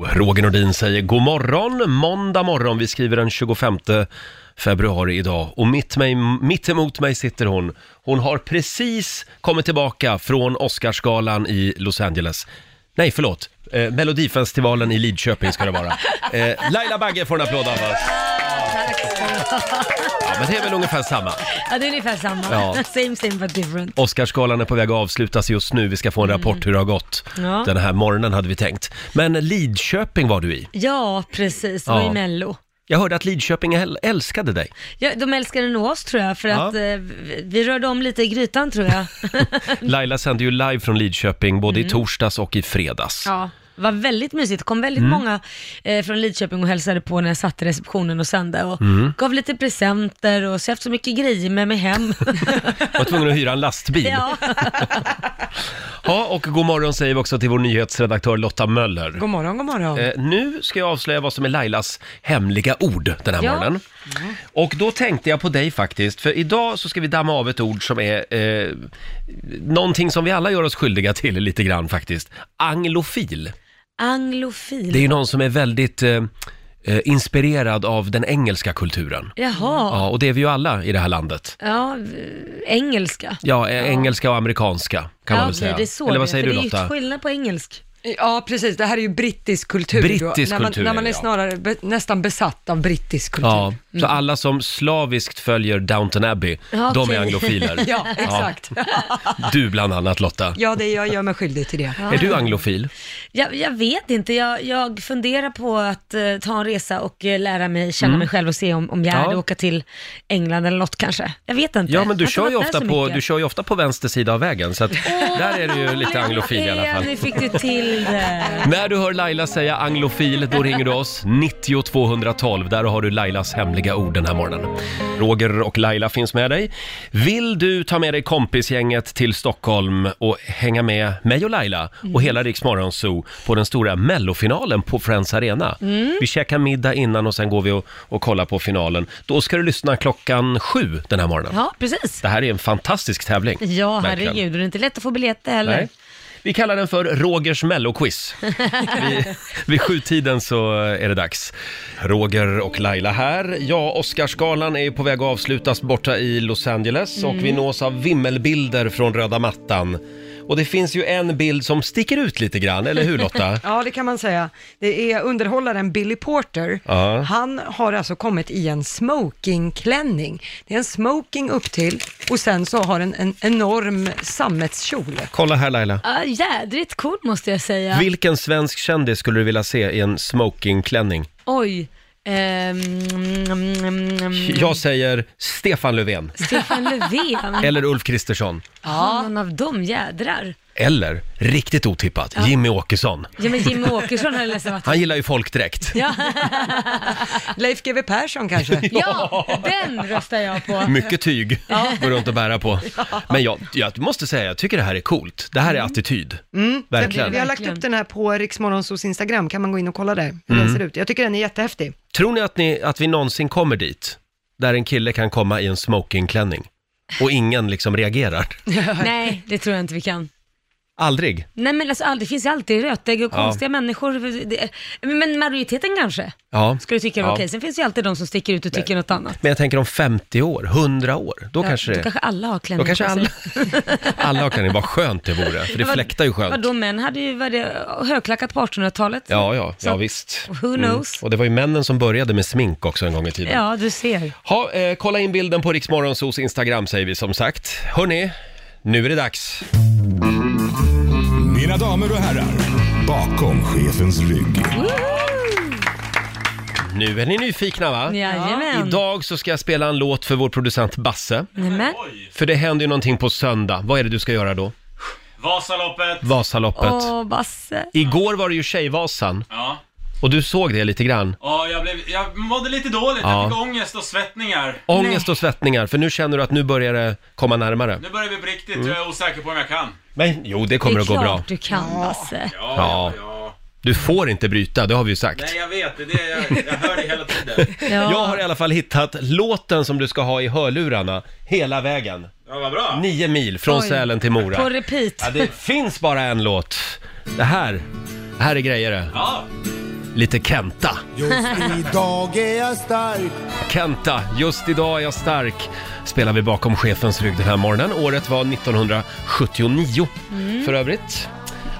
Roger Nordin säger god morgon, måndag morgon. Vi skriver den 25 februari idag och mitt, mig, mitt emot mig sitter hon. Hon har precis kommit tillbaka från Oscarsgalan i Los Angeles. Nej, förlåt. Eh, Melodifestivalen i Lidköping ska det vara. Eh, Laila Bagge får en applåd av oss. Ja, men det är väl ungefär samma. Ja, det är ungefär samma. Ja. Same same but different. Oscarsgalan är på väg att avslutas just nu. Vi ska få en rapport hur det har gått. Ja. Den här morgonen hade vi tänkt. Men Lidköping var du i. Ja, precis. Det var Ja. ju Mello. Jag hörde att Lidköping äl- älskade dig. Ja, de älskade nog oss tror jag, för Ja. att eh, vi- vi rörde om lite i grytan tror jag. Laila sände ju live från Lidköping både i torsdags och i fredags. ja. Det var väldigt mysigt. Det kom väldigt Mm. många eh, från Lidköping och hälsade på när jag satt i receptionen och sände och Mm. gav lite presenter och så jag har haft så mycket grejer med mig hem. Var tvungen att hyra en lastbil. Ja. ja. och god morgon säger vi också till vår nyhetsredaktör Lotta Möller. God morgon, god morgon. Eh, nu ska jag avslöja vad som är Lailas hemliga ord den här Ja. morgonen. Och då tänkte jag på dig faktiskt, för idag så ska vi damma av ett ord som är eh, någonting som vi alla gör oss skyldiga till lite grann faktiskt. Anglofil. Anglofil. Det är ju någon som är väldigt eh, eh, inspirerad av den engelska kulturen. Jaha. Ja, och det är vi ju alla i det här landet. Ja, v- engelska. Ja, eh, engelska och amerikanska kan man ja, väl okej, säga. det är så Eller vad det är, säger för du Det är ju Lotta? skillnad på engelsk. Ja, precis. Det här är ju brittisk kultur. Brittisk då. När man, kultur, när man är ja. snarare be, nästan besatt av brittisk kultur. Ja, så alla som slaviskt följer Downton Abbey, Mm. Ja, de okej. är anglofiler. Ja, exakt. Du bland annat Lotta. Ja, det, jag gör mig skyldig till det. Är du anglofil? Jag, jag vet inte, jag, jag funderar på att eh, ta en resa och eh, lära mig känna mig själv och se om, om jag Mm. Ja. hade åka till England eller något kanske. Jag vet inte. Ja, men Jag du har kör, inte ju varit där ofta så på, mycket. du kör ju ofta på vänster sida av vägen, så att där är du ju lite anglofil i alla fall. Nu fick du till det. När du hör Laila säga anglofil, då ringer du oss. 90 212, där har du Lailas hemliga ord den här morgonen. Roger och Laila finns med dig. Vill du ta med dig kompisgänget till Stockholm och hänga med mig och Laila och hela Rix Morgon Zoo på den stora mellofinalen på Friends Arena? Mm. Vi käkar middag innan och sen går vi och, och kollar på finalen. Då ska du lyssna klockan sju den här morgonen. Ja, precis. Det här är en fantastisk tävling. Ja, verkligen. herregud. och Det är inte lätt att få biljetter heller. Nej. Vi kallar den för Rogers melloquiz. Vid, vid sjutiden så är det dags. Roger och Laila här. Ja, Oscarsgalan är ju på väg att avslutas borta i Los Angeles och vi nås av vimmelbilder från röda mattan. Och det finns ju en bild som sticker ut lite grann, eller hur Lotta? Ja, det kan man säga. Det är underhållaren Billy Porter. Ja. Han har alltså kommit i en smokingklänning. Det är en smoking upp till och sen så har den en enorm sammetskjol. Kolla här Laila. Ja, jädrigt cool måste jag säga. Vilken svensk kändis skulle du vilja se i en smokingklänning? Oj. Ehm, mm, mm, mm, Jag säger Stefan Löfven, Stefan Löfven. eller Ulf Kristersson, Ja. Någon av dem, jädrar. eller, riktigt otippat, Jimmy Åkesson. Ja, men Jimmy Åkesson har nästan varit... Han gillar ju folkdräkt. Ja. Leif GW Persson kanske? ja, den röstar jag på. Mycket tyg går runt att bära på. Men jag, jag måste säga, jag tycker det här är coolt. Det Mm. här är attityd. Verkligen. Vi har lagt upp den här på Riksmorgonsos Instagram, kan man gå in och kolla där hur den Mm. ser ut. Jag tycker den är jättehäftig. Tror ni att, ni att vi någonsin kommer dit? Där en kille kan komma i en smokingklänning och ingen liksom reagerar. Nej, det tror jag inte vi kan. Aldrig. Nej men alltså, all- det finns ju alltid rötägg och Ja. konstiga människor. Det, men majoriteten kanske, Ja. skulle tycka det var Ja. okej. Sen finns det ju alltid de som sticker ut och tycker något annat. Men jag tänker om 50 år, 100 år, då kanske Då det... kanske alla har klänning Då kanske på sig. alla, alla har klänning, vad skönt det vore, för det Vad- fläktar ju skönt. Vadå, män hade ju var det, högklackat på 1800-talet. Ja, ja, ja Så- visst. Mm. Who knows? Och det var ju männen som började med smink också en gång i tiden. Ja, du ser. Ha, eh, kolla in bilden på Riksmorgonsos Instagram säger vi som sagt. Hörni, nu är det dags. Mina damer och herrar, bakom chefens rygg. Nu är ni nyfikna va? Jajamän. Idag så ska jag spela en låt för vår producent Basse. Nej, men, För det händer ju någonting på söndag. Vad är det du ska göra då? Vasaloppet! Vasaloppet. åh Basse. Igår var det ju Tjejvasan Ja. och du såg det lite grann. Ja, jag, blev, jag mådde lite dåligt. Jag fick ångest och svettningar. Ångest och svettningar, för nu känner du att nu börjar det komma närmare. Nu börjar vi på riktigt. Mm. Jag är osäker på om jag kan. Men jo, det kommer det är att gå klart bra. du kan Basse. Ja, Ja. ja, ja. Du får inte bryta, det har vi ju sagt. Nej, jag vet. Det är det jag, jag hör det hela tiden. Ja. Jag har i alla fall hittat låten som du ska ha i hörlurarna hela vägen. Ja, vad bra. Nio mil från Oj. Sälen till Mora. På repeat. Ja, det finns bara en låt. Det här, det här är grejer det. Ja. lite Kenta. Just idag är jag stark Kenta, just idag är jag stark, spelar vi bakom chefens rygg den här morgonen. Året var 1979 Mm. för övrigt.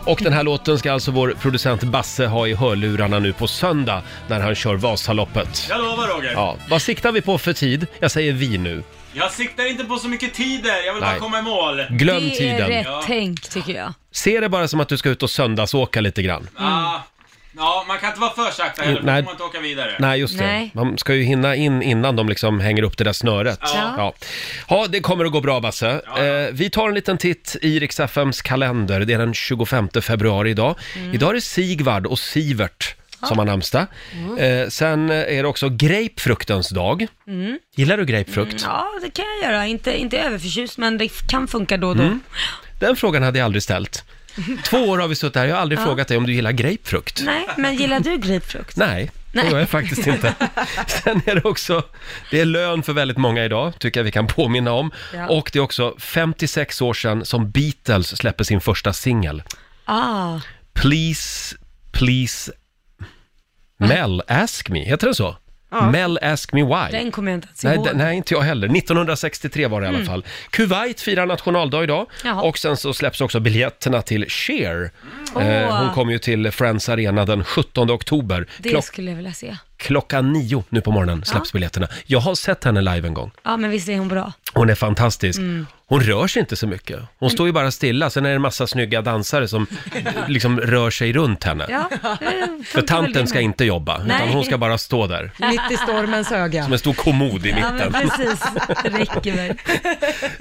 Och den här låten ska alltså vår producent Basse ha i hörlurarna nu på söndag när han kör Vasaloppet. Jag lovar Roger. Ja, vad siktar vi på för tid? Jag säger vi nu. Jag siktar inte på så mycket tider, jag vill Nej. Mm. bara komma i mål. Glöm Det är tiden. rätt Ja. tänkt tycker jag. Se det bara som att du ska ut och söndagsåka lite grann. Ah, ja, man kan inte vara för sakta heller, för då Nej. får man inte åka vidare. Nej, just det. Nej. Man ska ju hinna in innan de liksom hänger upp det där snöret. Ja. Ja, ja det kommer att gå bra Basse. Ja, ja. Eh, vi tar en liten titt i Rix FMs kalender. Det är den 25 februari idag. Mm. Idag är det Sigvard och Sivert som har namnsdag. Mm. Eh, sen är det också grapefruktens dag. Gillar du Mm. grapefrukt? Ja, det kan jag göra. Inte, inte överförtjust, men det f- kan funka då och då. Mm. Den frågan hade jag aldrig ställt. Två år har vi suttit här, jag har aldrig frågat dig om du gillar grapefrukt. Nej, men gillar du grapefrukt? Nej, det gör jag faktiskt inte. Sen är det också, det är lön för väldigt många idag, tycker jag vi kan påminna om. Ja. Och det är också 56 år sedan som Beatles släppte sin första singel. Ah, Please, please, Mel Ask Me, heter den så? Mel Ask Me Why. den kommer jag inte ens Nej, ihåg. Mm. d- nej, inte jag heller. 1963 var det i alla fall. Kuwait firar nationaldag idag Jaha. och sen så släpps också biljetterna till Cher. Åh. Eh, hon kommer ju till Friends Arena den 17 oktober. Det Klock- skulle jag vilja se. Klockan nio nu på morgonen släpps biljetterna. Jag har sett henne live en gång. Ja, men visst är hon bra? Hon är fantastisk. Mm. Hon rör sig inte så mycket. Hon står ju bara stilla. Sen är det en massa snygga dansare som liksom rör sig runt henne. Ja, det För funkar väl tanten det ska med. inte jobba, utan Nej. hon ska bara stå där. Mitt i stormens öga. Som en stor kommod i Ja, men mitten. precis. Det räcker väl.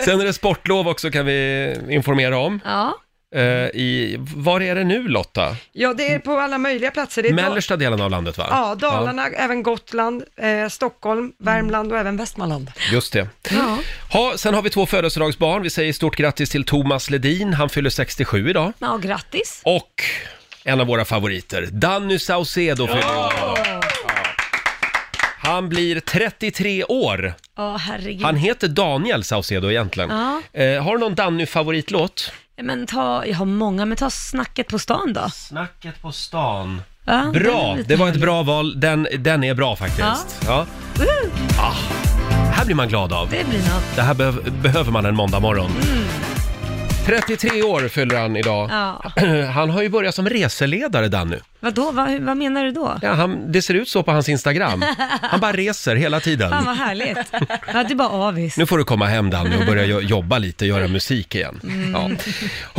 Sen är det sportlov också kan vi informera om. Ja. Eh, i, var är det nu Lotta? Ja, det är på alla möjliga platser. Det är Dal- Mellersta delen av landet va? ja, Dalarna, även Gotland, eh, Stockholm, Värmland och även Västmanland. Ja, just det. ja. Ha, sen har vi två födelsedagsbarn. Vi säger stort grattis till Thomas Ledin. Han fyller 67 idag. Ja, grattis. Och en av våra favoriter, Danny Saucedo fyller år idag. Han blir 33 år. Ja, herregud. Han heter Daniel Saucedo egentligen. Ja. Eh, har du någon Danny-favoritlåt? Men ta, jag har många, men ta snacket på stan då. Snacket på stan. Ja, den är Bra, lite det var ett härlig. bra val. Den, den är bra faktiskt. Ja. Ah, här blir man glad av. Uh, Det blir något. Det här behöv, behöver man en måndag morgon. 33 år fyller han idag. Mm. Ja. Han har ju börjat som reseledare, Danny. Vadå, vad, hur- vad menar du då? Ja, han, det ser ut så på hans Instagram. Han bara reser hela tiden. Fan vad härligt. Ja, det är bara avis. Nu får du komma hem Danny och börja jo- jobba lite, göra musik igen. Mm. Ja.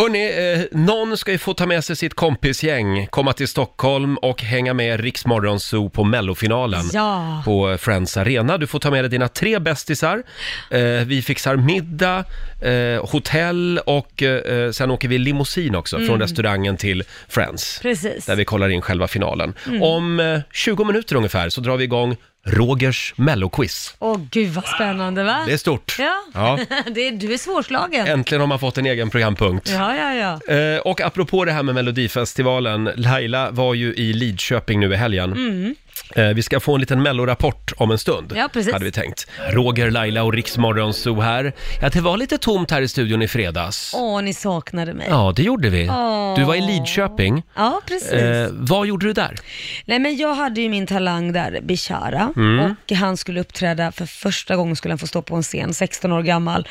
Hörni, eh, någon ska ju få ta med sig sitt kompisgäng, komma till Stockholm och hänga med Rix Morgon Zoo på mellofinalen. Ja. På Friends Arena. Du får ta med dig dina tre bästisar. Eh, vi fixar middag, eh, hotell och eh, sen åker vi limousin också från restaurangen till Friends. Mm. Precis. Mm. Där vi kollar in själva finalen. Om eh, 20 minuter ungefär så drar vi igång Rogers melloquiz. Åh gud vad spännande va? Det är stort. Ja, Ja. det är, du är svårslagen. Äntligen har man fått en egen programpunkt. Ja, ja, ja. Eh, och apropå det här med Melodifestivalen, Laila var ju i Lidköping nu i helgen. Eh, vi ska få en liten mellorapport om en stund, Mm. Ja, precis. hade vi tänkt. Roger, Laila och Riksmorgon så här. Ja, det var lite tomt här i studion i fredags. Åh, ni saknade mig. Ja, Ja, det gjorde vi. Åh. Du var i Lidköping. precis. Eh, vad gjorde du där? Nej, men jag hade ju min talang där, Bishara, Mm. och han skulle uppträda, för första gången skulle han få stå på en scen, 16 år gammal,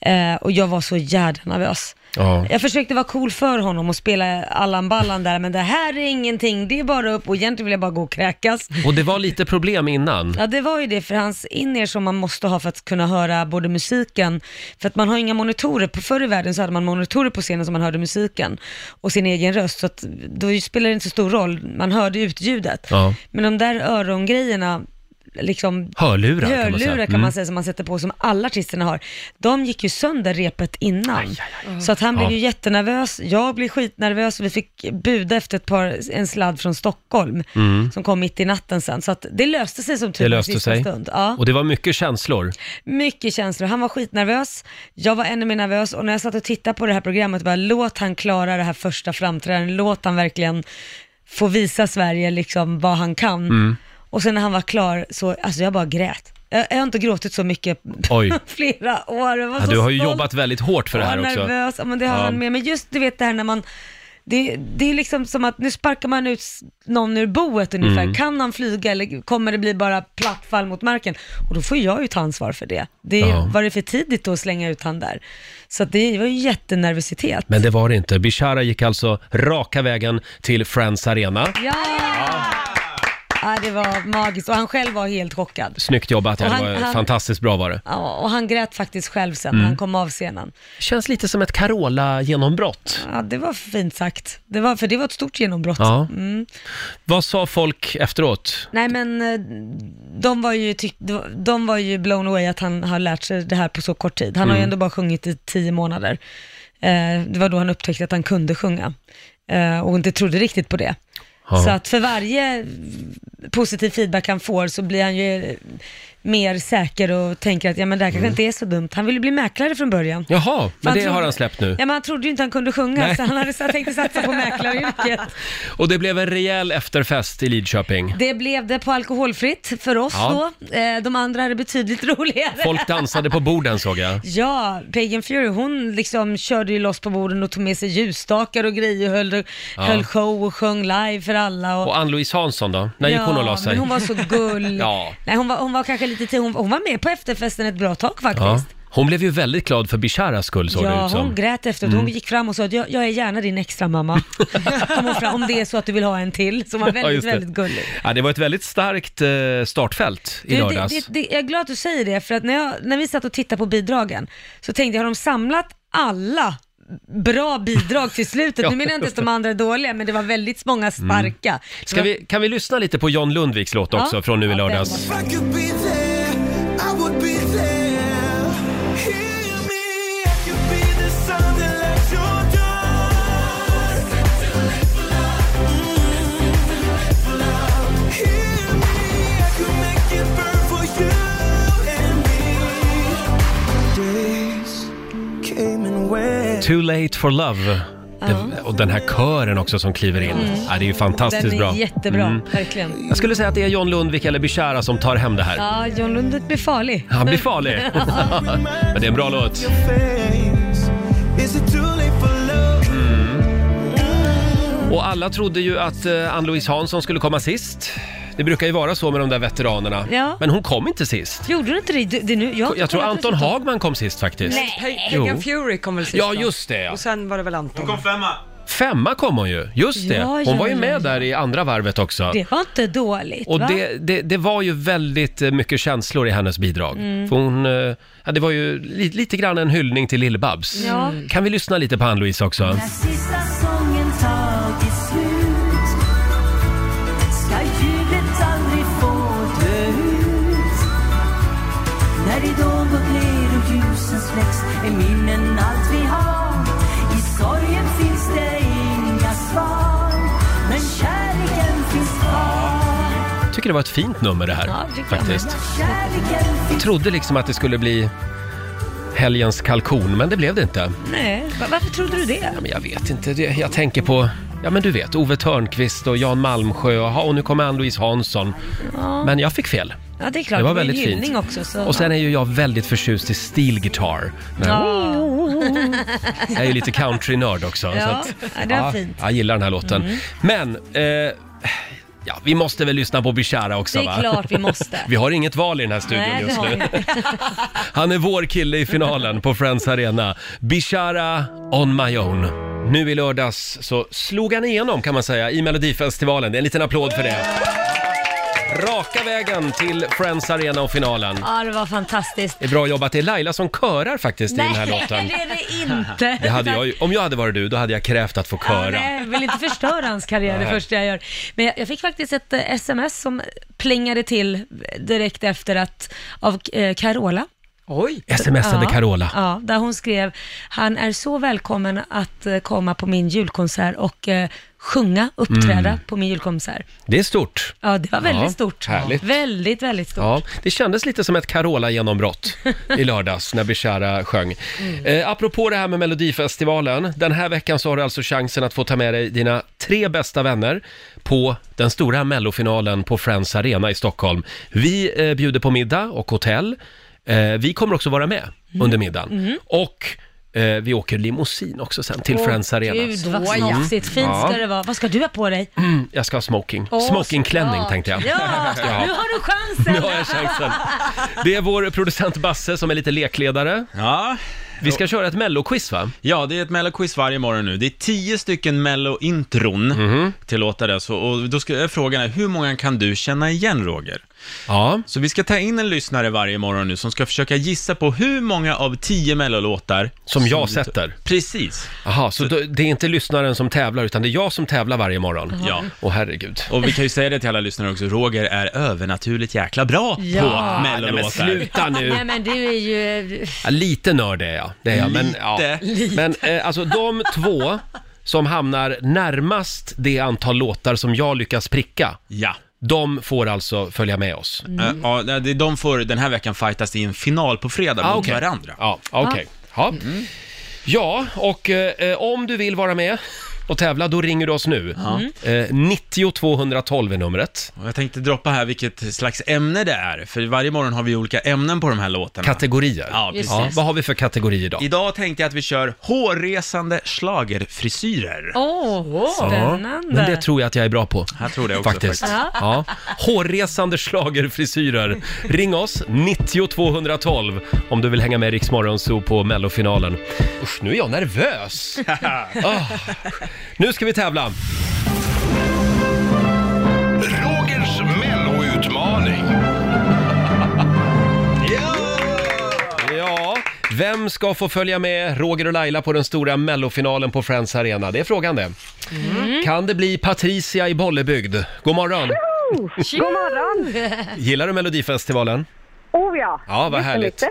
eh, och jag var så jädra nervös. Ja. Jag försökte vara cool för honom och spela Allan Ballan där, men det här är ingenting, det är bara upp och egentligen vill jag bara gå och kräkas. Och det var lite problem innan. Ja det var ju det för hans in-ear som man måste ha för att kunna höra både musiken, för att man har inga monitorer. På förr i världen så hade man monitorer på scenen som man hörde musiken och sin egen röst, så att då spelar det inte så stor roll, man hörde ut ljudet. Ja. Men de där örongrejerna, liksom Hörlurar kan man säga. hörlurar kan Mm. man säga som man sätter på som alla artisterna har. De gick ju sönder repet innan. Så att han blev Ja. ju jättenervös, jag blev skitnervös och vi fick buda efter ett par, en sladd från Stockholm som kom mitt i natten sen. Så att det löste sig som tur Mm. var Det i löste sista sig. Stund. Ja. Och det var mycket känslor. Mycket känslor. Han var skitnervös, jag var ännu mer nervös och när jag satt och tittade på det här programmet, bara låt han klara det här första framträdandet, låt han verkligen få visa Sverige liksom vad han kan. Mm. Och sen när han var klar så, alltså jag bara grät. Jag, jag har inte gråtit så mycket Oj. flera år. Jag var Ja, så du har ju stolt. jobbat väldigt hårt för det här Jag var också. nervös, ja, men det har Ja. han med. Men just du vet det här när man det, det är liksom som att nu sparkar man ut s- någon ur boet ungefär. Mm. Kan han flyga eller kommer det bli bara platt fall mot marken? Och då får jag ju ta ansvar för det. det Ja. Var det för tidigt då att slänga ut han där? Så att det var ju jättenervositet. Men det var det inte. Bishara gick alltså raka vägen till Friends Arena. Ja! ja, det var magiskt. Och han själv var helt chockad. Snyggt jobbat, ja, Och det han- var han- fantastiskt bra var det. Ja, och han grät faktiskt själv sen Mm. när han kom av scenen. Känns lite som ett Carola-genombrott. Ja, det var fint sagt. Det var, för det var ett stort genombrott. Ja. Mm. Vad sa folk efteråt? Nej men eh, de var, ju tyck- de var ju blown away att han har lärt sig det här på så kort tid. Han har ju Mm. ändå bara sjungit i tio månader. Eh, det var då han upptäckte att han kunde sjunga eh, och inte trodde riktigt på det. Ja. Så att för varje positiv feedback han får så blir han ju eh, mer säker och tänker att ja, men det här kanske Mm. inte är så dumt. Han ville bli mäklare från början. Jaha, För men det trodde- har han släppt Ja, nu. men han trodde ju inte han kunde sjunga Nej. så han hade, så han tänkte satsa på mäklaryrket. Och det blev en rejäl efterfest i Lidköping. Det blev det på alkoholfritt för oss Ja. då. Eh, De andra hade betydligt roligare. Folk dansade på borden såg jag. Ja, Pagan Fury hon liksom körde ju loss på borden och tog med sig ljusstakar och grejer och höll, Ja. höll show och sjöng live för alla. Och, Och Ann-Louise Hansson då? När gick ja, hon och la sig? Men hon var så gull. Ja. Nej, hon, var, hon var kanske lite till, hon, hon var med på efterfesten ett bra tag faktiskt. ja. Hon blev ju väldigt glad för Bisharas skull såg det Ja, ut som. hon grät efteråt. Hon Mm. gick fram och sa att jag, jag är gärna din extra mamma. Kom hon fram, om det är så att du vill ha en till. Så hon var Ja, väldigt, just det. väldigt gullig. Ja, det var ett väldigt starkt eh, startfält i Du, lördags. Det, det, det, jag är glad att du säger det, för att när, jag, när vi satt och tittade på bidragen så tänkte jag, har de samlat alla bra bidrag till slutet? Ja, nu menar jag inte just Mm. att de andra är dåliga, men det var väldigt många starka. Ska vi, kan vi lyssna lite på John Lundviks låt också Ja. från nu i Ja, den lördags? If I could be there, I would be there. Hear me, I could be the sun that lights your dawn. Mm. Hear me, I could make it burn for you and me. Days came and went. Too late for love. Den, och den här kören också som kliver in. Mm. Ja, det är ju fantastiskt Den är bra. jättebra, Mm. verkligen. Jag skulle säga att det är John Lundvik eller Bishara som tar hem det här. Ja, John Lundvik blir farlig. Han blir farlig. Men det är en bra låt. Is it too late for love? Och alla trodde ju att eh, Ann-Louise Hansson skulle komma sist. Det brukar ju vara så med de där veteranerna. Ja. Men hon kom inte sist. Gjorde du inte det? Du, det är nu, jag, har inte Jag tror kollat Anton resultat. Hagman kom sist faktiskt. Nej. Jo. Pagan Fury kom väl sist Ja, då? just det, ja. Och sen var det väl Anton. Hon kom femma. Femma kom hon ju, just det. Ja, Hon ja, var ju ja, med ja. där i andra varvet också. Det var inte dåligt, Och va? det, det, det var ju väldigt eh, mycket känslor i hennes bidrag. Mm. För hon, eh, ja, det var ju li, lite grann en hyllning till Lill-Babs. Ja. Mm. Kan vi lyssna lite på Ann-Louise också? När sista sången tagit slut ska jublet aldrig få dö ut När ridån gått ner och ljusen släcks är minnen allt vi har I sorgen finns det inga svar men kärleken finns kvar Jag tycker det var ett fint nummer det här, faktiskt. Kärleken Jag trodde liksom att det skulle bli helgens kalkon, men det blev det inte. Nej, va- varför trodde du det? Men jag vet inte, det, jag tänker på, ja men du vet, Ove Törnqvist och Jan Malmsjö och, ha, och nu kommer Ann-Louise Hansson. Ja. Men jag fick fel. Ja, det är klart. det var ju en väldigt hyllning fint. också. Så. Och sen är ju jag väldigt förtjust i steel guitar. Men Ja. Jag är ju lite countrynörd också. Ja, ja, det var ja, fint. Jag gillar den här låten. Mm. Men, eh, ja, vi måste väl lyssna på Bishara också Det är va? klart vi måste. vi har inget val i den här studion Nej, det just har nu. vi inte. Han är vår kille i finalen på Friends Arena. Bishara on my own. Nu i lördags så slog han igenom kan man säga i Melodifestivalen. Det är en liten applåd för det. Raka vägen till Friends Arena och finalen. Ja, det var fantastiskt. Det är bra jobbat. Det är Laila som körar faktiskt i den här låten. det är det inte. Det hade jag ju, om jag hade varit du, då hade jag krävt att få köra. Nej, jag vill inte förstöra hans karriär det Nej. första jag gör. Men jag, jag fick faktiskt ett eh, sms som plingade till direkt efter att, av eh, Carola. Oj! Smsade Carola. Ja, där hon skrev, han är så välkommen att eh, komma på min julkonsert och eh, sjunga, uppträda Mm. på min julkonsert. Det är stort. Ja, det var väldigt Ja, stort. härligt. Väldigt, väldigt stort. Ja, det kändes lite som ett Carola-genombrott i lördags när Bishara sjöng. Mm. Eh, apropå det här med Melodifestivalen, den här veckan så har du alltså chansen att få ta med dig dina tre bästa vänner på den stora mellofinalen på Friends Arena i Stockholm. Vi eh, Mm. bjuder på middag och hotell. Eh, vi kommer också vara med under middagen. Och Eh, vi åker limousin också sen till Friends Arena. Gud vad snofsigt, fint ska det vara. Vad ska du ha på dig? Mm, jag ska ha smoking. Åh, Smokingklänning såklart. tänkte jag. Ja, Ja. nu har du chansen! Nu har jag chansen. Det är vår producent Basse som är lite lekledare. Ja. Vi ska köra ett melloquiz va? Ja, det är ett melloquiz varje morgon nu. Det är tio stycken mello-intron Mhm. till låtar där. Så, och då ska, är frågan är, hur många kan du känna igen, Roger? Ja. Så vi ska ta in en lyssnare varje morgon nu som ska försöka gissa på hur många av tio mellolåtar Som jag sätter. Precis. Jaha, så då, det är inte lyssnaren som tävlar utan det är jag som tävlar varje morgon? Ja. Åh herregud. Och vi kan ju säga det till alla lyssnare också, Roger är övernaturligt jäkla bra Ja. på Ah, Nej, men mellolåtar. sluta Nej nu. men du är ju... Ja, lite nörd är jag. Det är jag. Men, ja. Lite. men eh, alltså de två som hamnar närmast det antal låtar som jag lyckas pricka, Ja. Eh, de får alltså följa med oss. Ja, ja, det- de får den här veckan fightas i en final på fredag mot Ah, okej. varandra. Ah. Mm. Ja, ah, okej. Ja. ja, och eh, om du vill vara med och tävla, då ringer du oss nu. Eh, 90 212 är numret. Och jag tänkte droppa här vilket slags ämne det är, för varje morgon har vi olika ämnen på de här låtarna. Kategorier. Ja, precis. vad har vi för kategori idag? Idag tänkte jag att vi kör hårresande schlagerfrisyrer. Åh, Ja, men det spännande! tror jag att jag är bra på. Jag tror det också faktiskt. faktiskt. Ja. Hårresande schlagerfrisyrer. Ring oss, 90 212, om du vill hänga med Rix Morgonzoo på mellofinalen. Usch, nu är jag nervös! Ah. Nu ska vi tävla. Rogers melloutmaning. Ja, vem ska få följa med Roger och Laila på den stora mellofinalen på Friends Arena? Det är frågan det. Mm. Kan det bli Patricia i Bollebygd? God morgon! God morgon! Gillar du Melodifestivalen? Oh ja. Ja, vad härligt.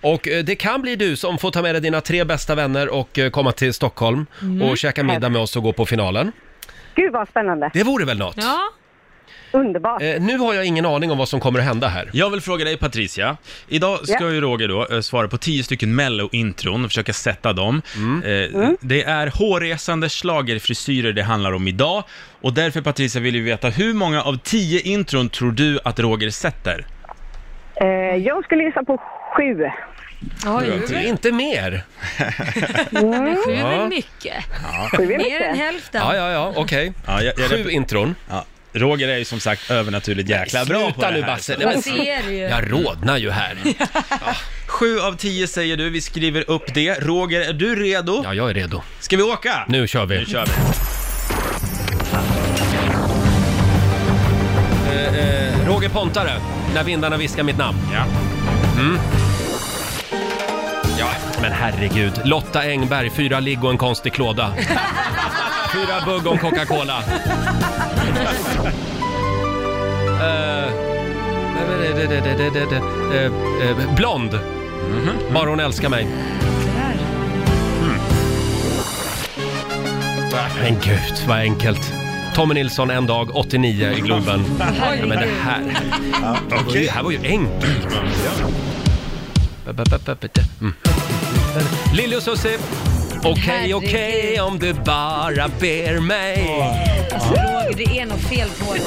Och eh, det kan bli du som får ta med dig dina tre bästa vänner och eh, komma till Stockholm Mm. och käka middag med oss och gå på finalen. Gud vad spännande. Det vore väl något? Ja, Underbart. Eh, Nu har jag ingen aning om vad som kommer att hända här. Jag vill fråga dig Patricia, idag ska Ja. ju Roger då eh, svara på tio stycken mello-intron och försöka sätta dem. Mm. Eh, Det är hårresande schlagerfrisyrer det handlar om idag och därför Patricia vill vi veta hur många av tio intron tror du att Roger sätter? Eh, jag skulle gissa på sju. oj, Det är inte mer. sju är väl mycket? Sju är Mer än mycket. hälften. Ja, ja, ja, okej. Ja, jag- jag- Sju intron. Ja. Roger är ju som sagt övernaturligt jäkla bra på Sluta det nu här. Basse. Nej, Jag men- ser ju. Jag rodnar ju här. Sju av tio säger du, vi skriver upp det. Roger, är du redo? Ja, jag är redo. Ska vi åka? Nu kör vi. Nu kör vi. Roger Pontare, när vindarna viskar mitt namn. Ja. Mm. Ja, men herregud. Lotta Engberg, fyra ligg och en konstig klåda. Fyra bugg om Coca-Cola. Eh, eh, eh, eh, Blond. Bara hon älskar mig. Hmm. Men gud, vad enkelt. Tommy Nilsson, en dag, 89 i Globen. Ja, men det här... Det här var ju enkelt. Mm. Lille och Susie. Okej, Herregud. okej om du bara ber mig. Alltså Roger, det är något fel på dig.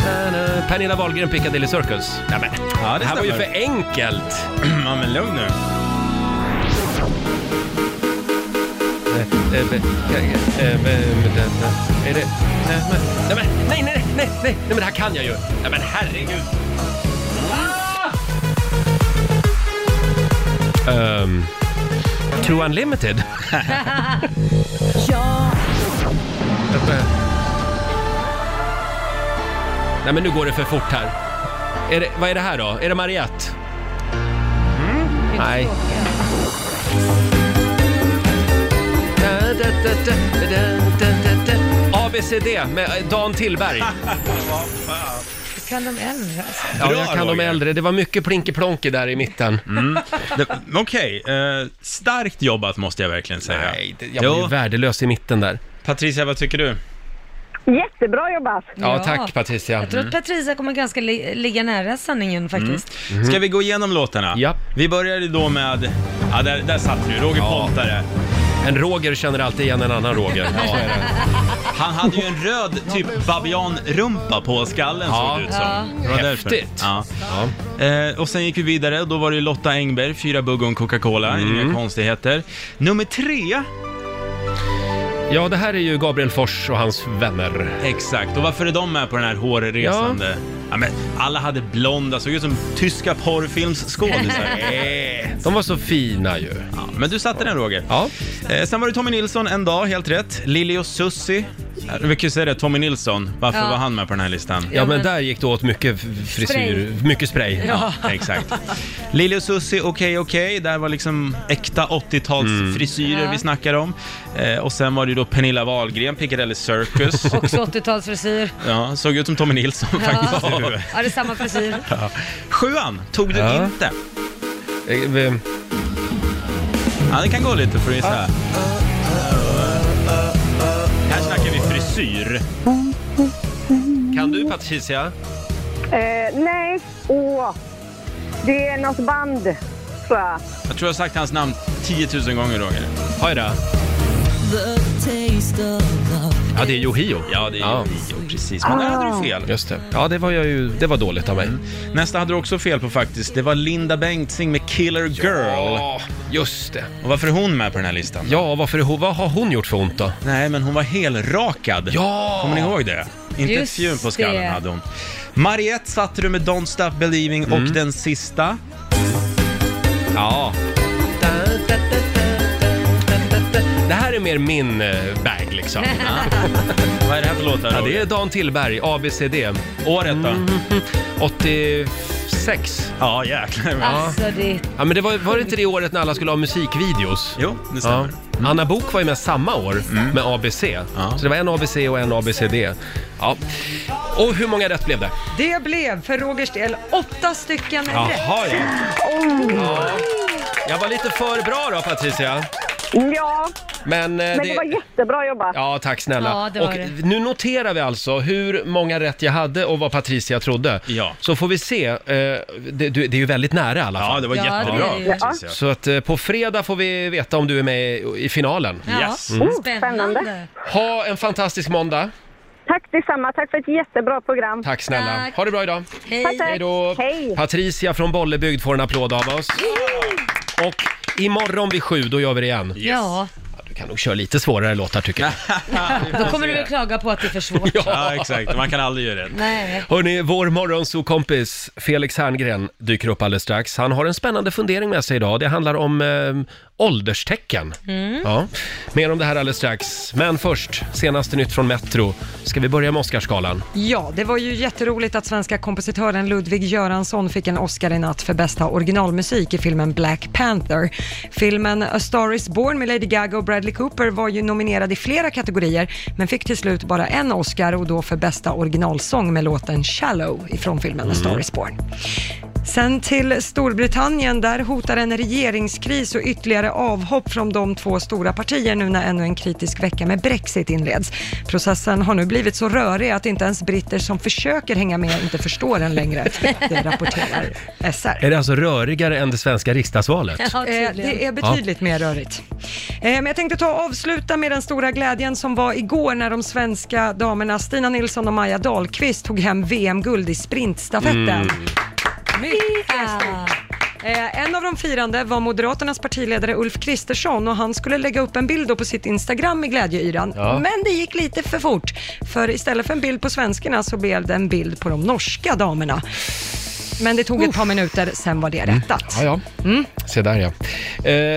Eh, Pernilla Wahlgren, Piccadilly Circus. Ja, men. ja Det här var ju för enkelt. Ja, men lugn nu. Eh, eh, eh, eh, eh, Är det... Nej, men- nej, men- nej, nej, nej, nej, nej, men det här kan jag ju. Nej, men herregud. Ah! Um, True Unlimited. Nej, men nu går det för fort här. Är det, vad är det här då? Är det Mariette? Nej. ABCD med eh, Dan Tillberg. Kan de äldre alltså? Ja, Bra, jag kan de Roger. Mm. äldre. Det var mycket plinkeplonke där i mitten. Det- Okej, eh, starkt jobbat måste jag verkligen säga. Nej, det- jag var ju Jo. värdelös i mitten där. Patricia, vad tycker du? Jättebra jobbat. Ja, Ja. tack Mm. Patricia. Jag tror att Patricia kommer ganska li- ligga nära Mm. sanningen faktiskt. Ska vi gå igenom låtarna? Mhm. Ja. Vi började då med... Ja, där, där satt du, Roger Pontare. En Roger känner alltid igen en annan Roger. Ja. Han hade ju en röd typ babianrumpa på skallen Ja. såg det ut som. Ja. Det var därför. Häftigt. Ja. Eh, och sen gick vi vidare, då var det Lotta Engberg, fyra bugg och en Coca-Cola, Mm. inga konstigheter. Nummer tre, ja, det här är ju Gabriel Fors och hans vänner. exakt. Och varför är de med på den här hårresande? Ja. men alla hade blonda, såg ut som tyska porrfilmsskådisar. Eh, De var så fina ju. ja, men du satte den Roger. Ja. Eh, sen var det Tommy Nilsson en dag, helt rätt. Lili och Susi. Eh, Vi kan ju säga det, Tommy Nilsson, varför Ja. var han med på den här listan? Ja, men men- där gick det åt mycket f- frisyr, mycket spray. Ja, exakt. Lili och Susie, okej okej, där var liksom äkta 80-tals frisyrer vi snackar om. Eh, och sen var det ju då Pernilla Wahlgren, Piccadilly Circus. Också 80-talsfrisyr. ja, såg ut som Tommy Nilsson faktiskt. Ja, det är samma frisyr. Sjuan tog du Ja. inte. Eh, eh, Ja, det kan gå lite för att gissa. Här snackar vi frisyr. Kan du Patricia? Eh, nej, åh. Det är något band, tror jag. Jag tror jag har sagt hans namn 10 000 gånger, Roger. Oj då. Ja, det är Yohio. Ja, det är ja. precis. Men där hade du fel. Mm. Just det. Ah. Ja, det var, jag ju, det var dåligt av mig. Nästa hade du också fel på faktiskt. Det var Linda Bengtzing med Killer Girl. Ja, just det. Och varför är hon med på den här listan? Ja, varför, är hon- vad har hon gjort för ont då? Nej, men hon var helrakad. Ja! Kommer ni ihåg det? Inte Just ett fjun på skallen det. hade hon. Mariette satte du med Don't Stop Believing och den sista. Ja. Det här är mer min eh, bag liksom. Vad är det här för låtar? Ja, det Roger? är Dan Tillberg, ABCD. året då? 86. Ja, jäklar. Alltså det... Ja, men det var, var det inte det året när alla skulle ha musikvideos? Jo, det Ja. stämmer. Mm. Anna Bok var ju med samma år med ABC. Så det var en ABC och en ABCD. Ja. Och hur många rätt blev det? Det blev för Rogers del åtta stycken rätt. Jaha, ja. ja. Jag var lite för bra då Patricia. Mm, Ja, Men, eh, men det var jättebra jobbat. Ja, tack snälla. Ja, det var och det. nu noterar vi alltså hur många rätt jag hade och vad Patricia trodde. Ja. Så får vi se. eh, Det, du- det är ju väldigt nära i alla fall. Ja, det var Ja, det jättebra. är det ju. precis, ja. Så att eh, på fredag får vi veta om du är med i- i finalen. Ja. Mm. Yes. Mm. Oh, spännande. Ha en fantastisk måndag. Tack detsamma. Tack för ett jättebra program. Tack snälla. Tack. Ha det bra idag. Hej. Hej då. Hej. Patricia från Bollebygd får en applåd av oss. Och imorgon vid sju, då gör vi det igen. Ja, Du kan nog köra lite svårare låtar tycker jag. då kommer du väl klaga på att det är för svårt. Ja, exakt. Man kan aldrig göra rätt. Nej. Hörni, vår morgonsokompis Felix Herngren dyker upp alldeles strax. Han har en spännande fundering med sig idag. Det handlar om eh, ålderstecken. Ja, mer om det här alldeles strax. Men först, senaste nytt från Metro. Ska vi börja med Oscarsgalan? Ja, det var ju jätteroligt att svenska kompositören Ludwig Göransson fick en Oscar i natt för bästa originalmusik i filmen Black Panther. Filmen A Star Is Born med Lady Gaga och Bradley Cooper var ju nominerad i flera kategorier, men fick till slut bara en Oscar och då för bästa originalsång med låten Shallow ifrån filmen A Star Is Born. Sen till Storbritannien, där hotar en regeringskris och ytterligare avhopp från de två stora partier nu när ännu en kritisk vecka med Brexit inleds. Processen har nu blivit så rörig att inte ens britter som försöker hänga med inte förstår den längre. Det rapporterar SR. Är det alltså rörigare än det svenska riksdagsvalet? Ja, Eh, tydligen. Det är betydligt mer rörigt. Eh, Men jag tänkte ta och avsluta med den stora glädjen som var igår när de svenska damerna Stina Nilsson och Maja Dahlqvist tog hem VM-guld i sprintstafetten. Mm. Mycket stort. Eh, en av de firande var Moderaternas partiledare Ulf Kristersson och han skulle lägga upp en bild då på sitt Instagram i glädjeyran. Men det gick lite för fort, för istället för en bild på svenskarna så blev det en bild på de norska damerna. Men det tog ett par minuter, sen var det rättat. Mm. Ja, ja. Se där ja. Mm.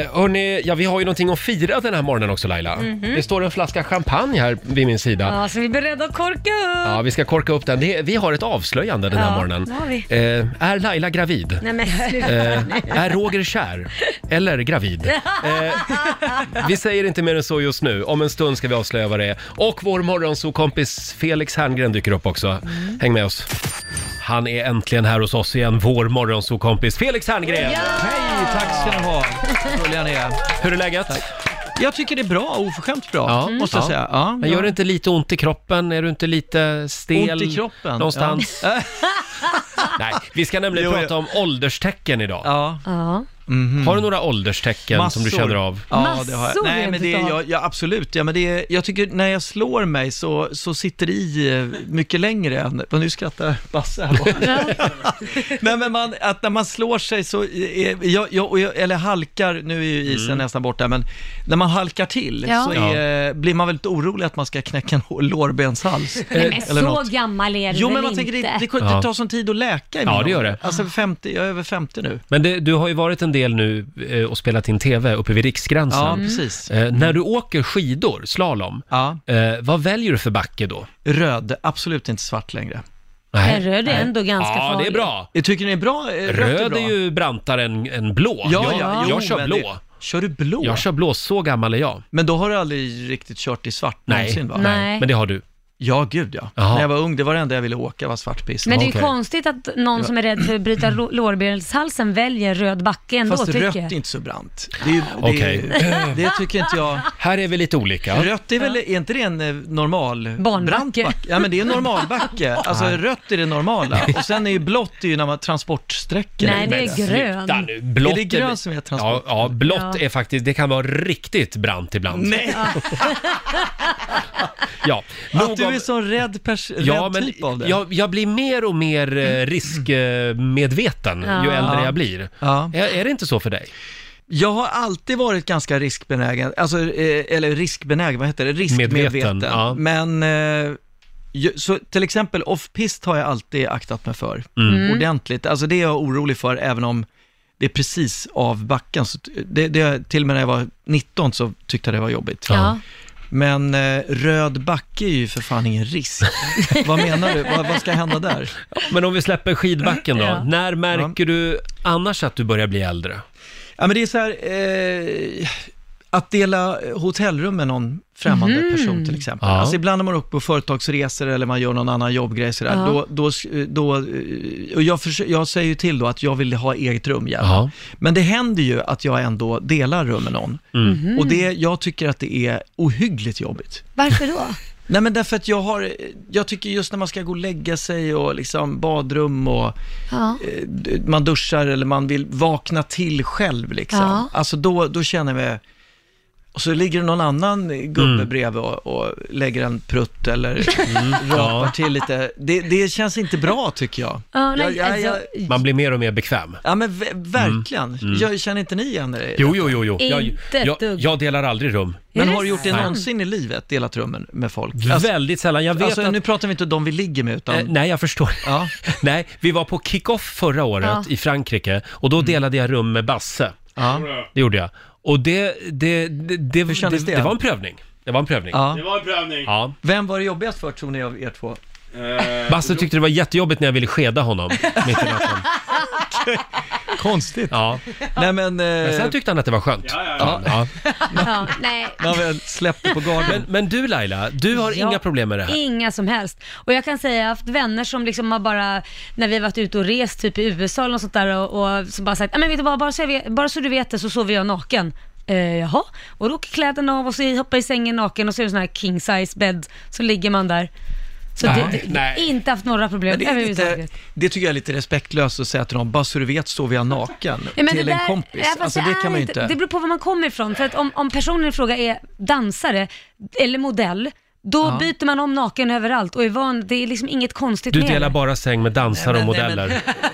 Eh, hörni, ja, vi har ju någonting att fira den här morgonen också Laila. Det står en flaska champagne här vid min sida. Ja, så vi är beredda att korka upp. Ja, vi ska korka upp den. Det, vi har ett avslöjande den här Ja, morgonen. det har vi. Eh, är Laila gravid? Nej men sluta. Eh, är Roger kär? Eller gravid? Eh, vi säger inte mer än så just nu. Om en stund ska vi avslöja vad det är. Och vår morgonsokompis Felix Herngren dyker upp också. Häng med oss. Han är äntligen här hos oss igen, vår morgonsokompis Felix Herngren! Hej, tack ska ni ha. Rulliga ner. Hur är läget? Jag tycker det är bra, oförskämt bra, Ja, måste jag ja. säga. Mm. Ja, Men gör det inte lite ont i kroppen? Är du inte lite stel? Ont i kroppen. Någonstans? Ja. Nej, vi ska nämligen Jo, prata om ålderstecken idag. ja. Ja. Har du några ålderstecken som du Massor. känner av? Ja, det har jag. Massor Nej, rent men det, utav. jag, jag, absolut. Ja, men det, är- jag tycker när jag slår mig så, så sitter det i eh, mycket längre än... Vad nu skrattar Basse här borta. Nej, men man, att när man slår sig så... Är, jag, jag, och jag, eller halkar, nu är ju isen Mm. nästan borta, men när man halkar till Ja. så är, blir man väldigt orolig att man ska knäcka en hår- lårbenshals. Nej, eh, men eller så något. gammal är du Jo, väl men man tänker det, inte? det, det Ja. tar sån tid att läka i Ja, min det gör ålder. det. Alltså 50, jag är över 50 nu. Men det, du har ju varit en del nu eh, och spelat in TV uppe vid Riksgränsen. Ja, precis. Eh, när du åker skidor, slalom, Ja. eh, vad väljer du för backe då? Röd, absolut inte svart längre. Men röd är ändå ganska Ja, farlig. det är bra. Jag tycker den är bra. eh, Rött Röd bra. är ju brantare än, än blå. Ja, jag, ja, jo, jag kör men blå. det- Kör du blå? Jag kör blå, så gammal är jag. Men då har du aldrig riktigt kört i svart Nej. någonsin va? Nej. Men det har du. Ja, gud ja. Jaha. När jag var ung, det var det enda jag ville åka var svartpist. Men det är ju Okej. konstigt att någon som är rädd för att bryta lo- lårbenshalsen väljer röd backe ändå Fast tycker rött jag. är inte så brant. Det, är, ju- det, Okej. är- det tycker inte jag. Här är vi lite olika. Rött är väl, är inte det en eh, normal Barnbacke. brant backe? Ja men det är en normalbacke. Alltså rött är det normala. Och sen är ju blått är ju när man transportsträcker. Nej, det är grön. Sluta nu. Blått Är det grön som är transport? Ja, ja blått Ja. är faktiskt, det kan vara riktigt brant ibland. Nej, Ja, att nog du om- är så rädd, pers- Ja, rädd men typ av det. Mm. jag, jag blir mer och mer eh, riskmedveten ju Ja. äldre jag blir. Ja. Är, är det inte så för dig? Jag har alltid varit ganska riskbenägen, alltså, eh, eller riskbenägen, vad heter det? Riskmedveten. Medveten, ja. Men, eh, ju- så till exempel off-pist har jag alltid aktat mig för, ordentligt. Alltså det är jag orolig för, även om det är precis av backen. Så t- det, det, till och med när jag var 19 så tyckte jag det var jobbigt. Ja. Men eh, röd backe är ju för fan ingen risk. vad menar du? Vad, vad ska hända där? Men om vi släpper skidbacken då. Ja. När märker du annars att du börjar bli äldre? Ja, men det är så här, eh, att dela hotellrum med någon främmande person till exempel. Ja. Alltså ibland när man åker på företagsresor eller man gör någon annan jobbgrej sådär, Ja. då, då, då, eh, och jag, försö- jag säger ju till då att jag vill ha eget rum gärna. Ja. Men det händer ju att jag ändå delar rum med någon. Och det, jag tycker att det är ohyggligt jobbigt. Varför då? Nej men därför att jag har, jag tycker just när man ska gå och lägga sig och liksom badrum och Ja. eh, d- man duschar eller man vill vakna till själv liksom. Ja. Alltså då, då känner jag mig, och så ligger det någon annan gubbe bredvid och, och lägger en prutt eller rapar till lite. Det, det känns inte bra tycker jag. Ja, nej, jag, jag, jag alltså, Man blir mer och mer bekväm. ja men v- verkligen. Jag känner inte ni igen er? i det? Jo, jo, jo, jo. Jag, Inte ett jag, dugg. jag delar aldrig rum. Men Är har det du gjort det sant? någonsin i livet, delat rummen med folk? Alltså, Väldigt sällan. Jag vet alltså, att... nu pratar vi inte om de vi ligger med utan... Eh, nej, jag förstår. Ja. nej, vi var på kick-off förra året Ja. i Frankrike och då delade jag rum med Basse. Mm. Ja. Det gjorde jag. Och det, det, det, det, Hur kändes det? det var en prövning. Det var en prövning. Ja. Det var en prövning. Ja. Vem var det jobbigast för tror ni av er två? Basse tyckte det var jättejobbigt när jag ville skeda honom mitt i natten. Konstigt. Ja. Nej men... Eh, Men sen tyckte han att det var skönt. ja, Ja. ja, nej. när vi släppte på garden. Men, men du Laila, du har Ja. inga problem med det här. Inga som helst. Och jag kan säga, jag har haft vänner som liksom har bara, när vi har varit ute och rest typ i USA eller något sånt där och, och som bara sagt, "Ja, men vet du vad, bara så, jag vet, bara så du vet det så sover jag naken. Eh, jaha, och då åker kläderna av och så hoppar jag i sängen naken och så är det en sån här king size bädd, så ligger man där. Så det, det, nej. inte haft några problem Men det, är lite, överhuvudtaget. det tycker jag är lite respektlöst att säga till dem, bara så du vet sover jag naken Ja, men till det en där- kompis. ja, fast alltså det är kan man ju inte. Det beror på var man kommer ifrån. För att om, om personen i fråga är dansare eller modell, då Ja. byter man om naken överallt och är van. Det är liksom inget konstigt Du med delar det. bara säng med dansare och Nej, men- modeller.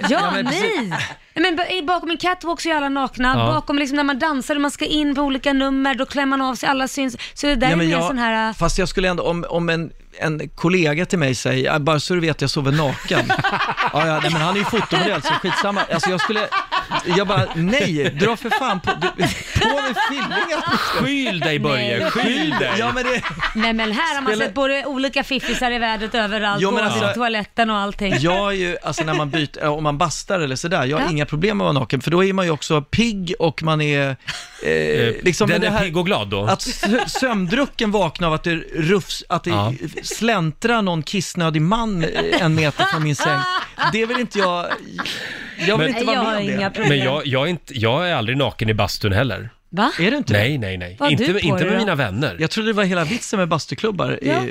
Ja, men precis. nej! Nej, Men ba- bakom en catwalk så är alla nakna, Ja. bakom liksom när man dansar och man ska in på olika nummer, då klär man av sig, alla syns. Så det där Nej, är men mer jag- sån här... äh, Fast jag skulle ändå, om, om en, en kollega till mig säger, "Ah, bara så du vet jag sover naken. ja, ja, nej, men han är ju fotomodell så skitsamma. Alltså jag skulle, jag bara, nej, dra för fan på, du, på med fillingar. Skyll dig Börje, Nej. skyll dig! Ja men det, Nej men här har man Spela- sett både olika fiffisar i världet överallt, Jo, men gå alltså- till toaletten och allting. Jag är ju, alltså när man byter, om man bastar eller sådär, jag har Ja. inga problem med att vara naken, för då är man ju också pigg och man är, eh, liksom Den men det är här- pigg och glad då. Att sö- sömndrucken vaknar av att det rufs, att det Ja. släntrar någon kissnödig man eh, en meter från min säng. Det vill inte jag, jag vill Men- inte Nej, jag vara har med om inga det. problem. Men jag, jag, är inte, jag är aldrig naken i bastun heller. Va? Är du inte det? Nej, nej, nej. Vad har inte du på inte dig med då? mina vänner. Jag trodde det var hela vitsen med bastuklubbar. Ja. Eh,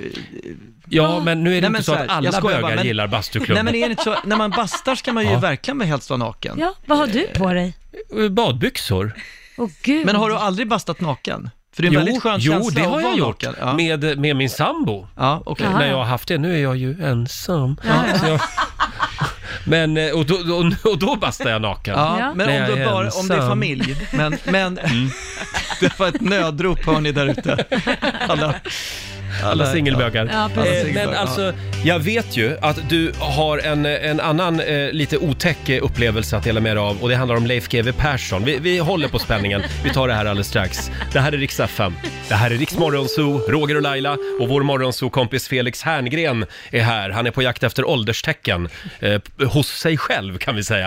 Ja, men nu är det men inte så så här, att jag alla skojar bögar bara, men- gillar Nej bastuklubben. men är det inte så, när man bastar ska man ju Ja. verkligen helst vara naken. Ja, vad har du på dig? eh, badbyxor. Åh gud. Men har du aldrig bastat naken? För det är en väldigt skön jo, känsla det att har jag vara gjort. naken. Med, med min sambo. Ja, När jag har haft det. Nu är jag ju ensam. Så jag, men, eh, och då, då, och då bastar jag naken. Ja, När men jag om, du är bara, om det är ensam. familj. Men, men det var ett nödrop hör ni där ute. Alla, Alla singelbögar. Ja, precis. Eh, Alla singelbögar, Men ja. alltså, jag vet ju att du har en, en annan eh, lite otäck eh, upplevelse att dela med dig av och det handlar om Leif GW Persson. Vi, vi håller på spänningen. Vi tar det här alldeles strax. Det här är Rix FM. Det här är Rix Morgonzoo, Roger och Laila och vår morgonzoo-kompis Felix Herngren är här. Han är på jakt efter ålderstecken eh, p- hos sig själv kan vi säga.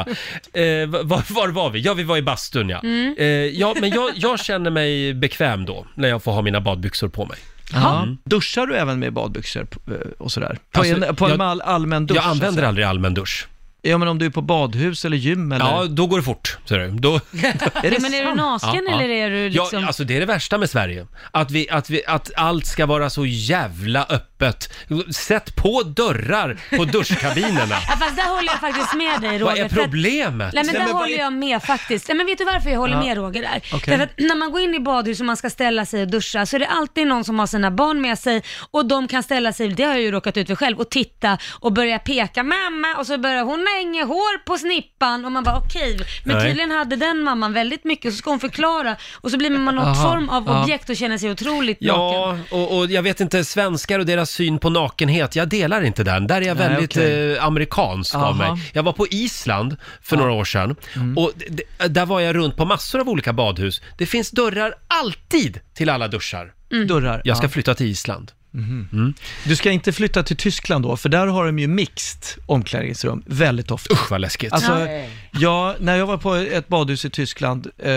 Eh, var, var var vi? Ja, vi var i bastun ja. Mm. Eh, ja, men jag, jag känner mig bekväm då när jag får ha mina badbyxor på mig. Ja. Mm. Duschar du även med badbyxor p- eh, och sådär? På Alltså, en, på en jag- all, allmän dusch? jag använder alltså. aldrig allmän dusch. Ja, men om du är på badhus eller gym eller? Ja, då går det fort. Ser du. Då... det men är du naken eller är du liksom... Ja, alltså det är det värsta med Sverige. Att, vi, att, vi, att allt ska vara så jävla öppet. Sätt på dörrar på duschkabinerna. Ja, fast där håller jag faktiskt med dig Roger. Vad är för att- problemet? Nej men Nej, där men vad håller är- jag med faktiskt. Nej, men vet du varför jag håller Ja. med Roger där? Okej. Därför att när man går in i badhus och man ska ställa sig och duscha så är det alltid någon som har sina barn med sig och de kan ställa sig, det har jag ju råkat ut för själv, och titta och börja peka mamma och så börjar hon har inget hår på snippan och man bara okej, men Nej. tydligen hade den mamman väldigt mycket och så ska hon förklara och så blir man något Aha, form av ja. objekt och känner sig otroligt naken. Ja, och, och jag vet inte, svenskar och deras syn på nakenhet, jag delar inte den. Där är jag Nej, väldigt okej. eh, amerikansk av mig. Aha. Jag var på Island för några år sedan Mm. och d- d- där var jag runt på massor av olika badhus. Det finns dörrar alltid till alla duschar. Mm. Dörrar. Jag ska ja. flytta till Island. Mhm. Du ska inte flytta till Tyskland då, för där har de ju mixed omklädningsrum väldigt ofta. Usch vad läskigt. Alltså, Nej. jag, när jag var på ett badhus i Tyskland eh,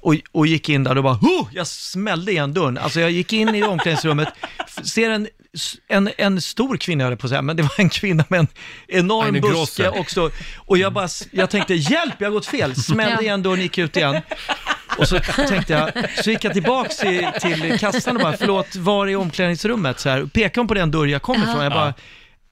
och, och gick in där, då bara Hu! jag smällde igen dörren. Alltså jag gick in i omklädningsrummet, f- ser en, s- en, en stor kvinna höll jag på att säga, men det var en kvinna med en enorm Eine buske große. och, så, och jag, bara, s- jag tänkte hjälp, jag har gått fel, Ja. smällde igen dörren, gick ut igen. Och så tänkte jag, så gick jag tillbaks till, till kassan och bara, förlåt, var är omklädningsrummet? Så här, pekade hon på den dörr jag kommer Ja. ifrån. Jag bara,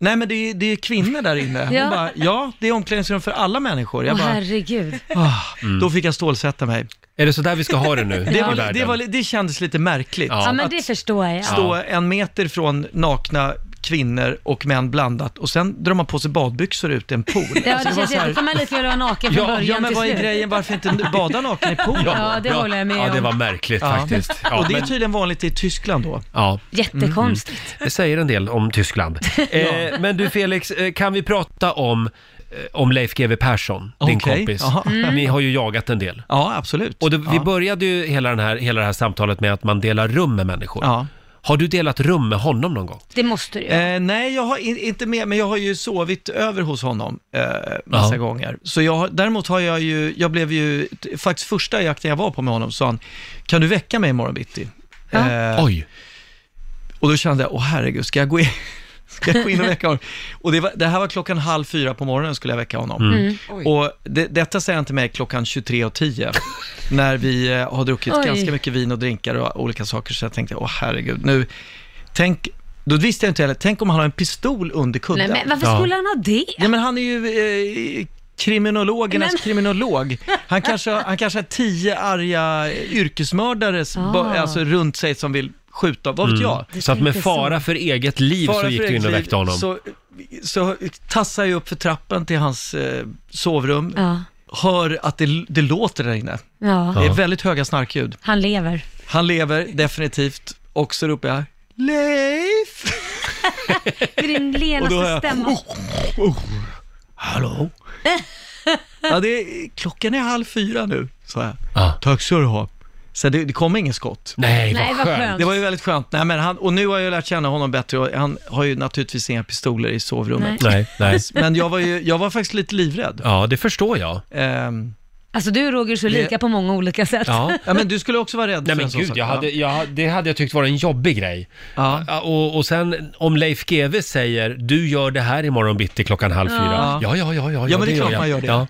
nej men det är, det är kvinnor där inne. Hon Ja. bara, ja det är omklädningsrum för alla människor. Åh Jag bara, herregud. ah, då fick jag stålsätta mig. Är det så där vi ska ha det nu Det, i var, det, världen? var, det kändes lite märkligt. Ja, men Att det förstår jag. stå en meter från nakna kvinnor och män blandat och sen drar man på sig badbyxor ut i en pool. Ja, Alltså, det var känns så här- ju, då kan man lika gärna vara naken från Ja, början ja, men till vad är slut. grejen? Varför inte bada naken i poolen? Ja, det håller jag med Ja, det om. var märkligt Ja. faktiskt. och det är men- tydligen vanligt i Tyskland då. Ja. Jättekonstigt. Mm, mm. Det säger en del om Tyskland. eh, men du Felix, eh, kan vi prata om, eh, om Leif GW Persson, din Okej, kompis? jaha. Mm. Ni har ju jagat en del. Ja, absolut. Och det, vi Ja. började ju hela, den här, hela det här samtalet med att man delar rum med människor. Har du delat rum med honom någon gång? Det måste du ju. Eh, nej, jag har in, inte med, men jag har ju sovit över hos honom eh, massa Ja. gånger. Så jag, har- däremot har jag ju, jag blev ju, t- faktiskt första jakten jag var på med honom sa han, kan du väcka mig imorgon bitti? Eh, Ja. Oj. Och då kände jag, åh herregud, ska jag gå in? Ska jag gå in och väcka honom? Och det, var, det här var klockan halv fyra på morgonen skulle jag väcka honom. Mm. Mm. Oj. Och det, detta säger han till mig klockan 23.10, när vi eh, har druckit Oj. ganska mycket vin och drinkar och olika saker. Så jag tänkte, åh herregud, nu, tänk, då visste jag inte heller, tänk om han har en pistol under Nej, kudden. men varför skulle han ha det? Ja, men han är ju eh, kriminologernas Men- kriminolog. Han kanske, har- han kanske har tio arga yrkesmördare s- Ah. ba- alltså, runt sig som vill skjuta, vad vet Mm. jag? Så att med fara för eget liv Fara så för gick du eget in och liv, väckte honom? Så, så tassade jag upp för trappen till hans eh, sovrum, Ja. hör att det, det låter där inne. Ja. Det är väldigt höga snarkljud. Han lever. Han lever definitivt och så ropar jag Leif! Det är din Och då har lenaste jag- Oh, stämma. Hallå? ja, det är, klockan är halv fyra nu, sa jag. Tack ska du ha. Så det, det kom ingen skott. Nej, vad Nej, vad skönt. skönt. Det var ju väldigt skönt. Nej, men han, och nu har jag lärt känna honom bättre och han har ju naturligtvis inga pistoler i sovrummet. Nej. Nej, nej. Men jag var, ju, jag var faktiskt lite livrädd. Ja, det förstår jag. Ehm, Alltså du och Roger är så Det- lika på många olika sätt. ja, men du skulle också vara rädd Nej för men en sån gud, sak, jag va? hade, jag, hade- det hade jag tyckt var en jobbig grej. Ja, Och, och sen om Leif GW säger du gör det här imorgon bitti klockan halv Ja. fyra. Ja, ja, ja, ja, Ja, men det är gör klart jag. man gör det. Ja.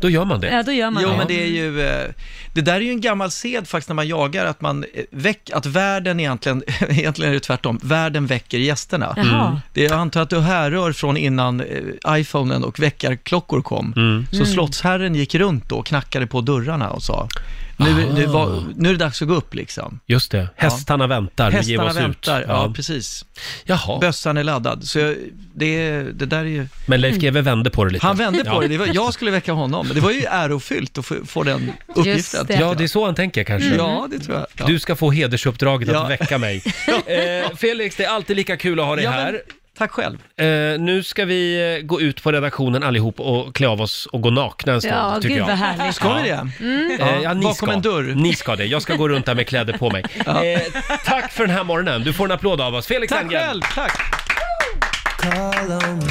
Då gör man det. Ja, då gör man jo, det. Men det, är ju, eh, det där är ju en gammal sed faktiskt när man jagar, att, man eh, väck, att världen egentligen, egentligen är det tvärtom, världen väcker gästerna. Jaha. Mm. Det, jag antar att det härrör från innan eh, iPhonen och väckarklockor kom. Så Mm. slottsherren gick runt då och knackade på dörrarna och sa, nu, nu, var, nu är det dags att gå upp liksom. Just det, hästarna väntar, vi ger Hästarna oss väntar, ut. ja. precis. Jaha. Bössan är laddad, så jag, det, är- det där är ju... Men Leif GW vände på det lite. Han vände på Ja. det, det var, jag skulle väcka honom. Det var ju ärofyllt att få, få den uppgiften. Ja, det är så han tänker kanske. Mm. Ja, det tror jag. Ja. Du ska få hedersuppdraget Ja. att väcka mig. eh, Felix, det är alltid lika kul att ha dig Ja, men- här. Tack själv. Eh, nu ska vi eh, gå ut på redaktionen allihop och klä av oss och gå nakna en stund, Ja, tycker gud, jag. vad härligt. Ska vi det? Mm. Eh, ja, ni Bakom ska. en dörr. Ni ska det. Jag ska gå runt där med kläder på mig. Eh, tack för den här morgonen. Du får en applåd av oss. Felix Tack Herngren. själv, tack.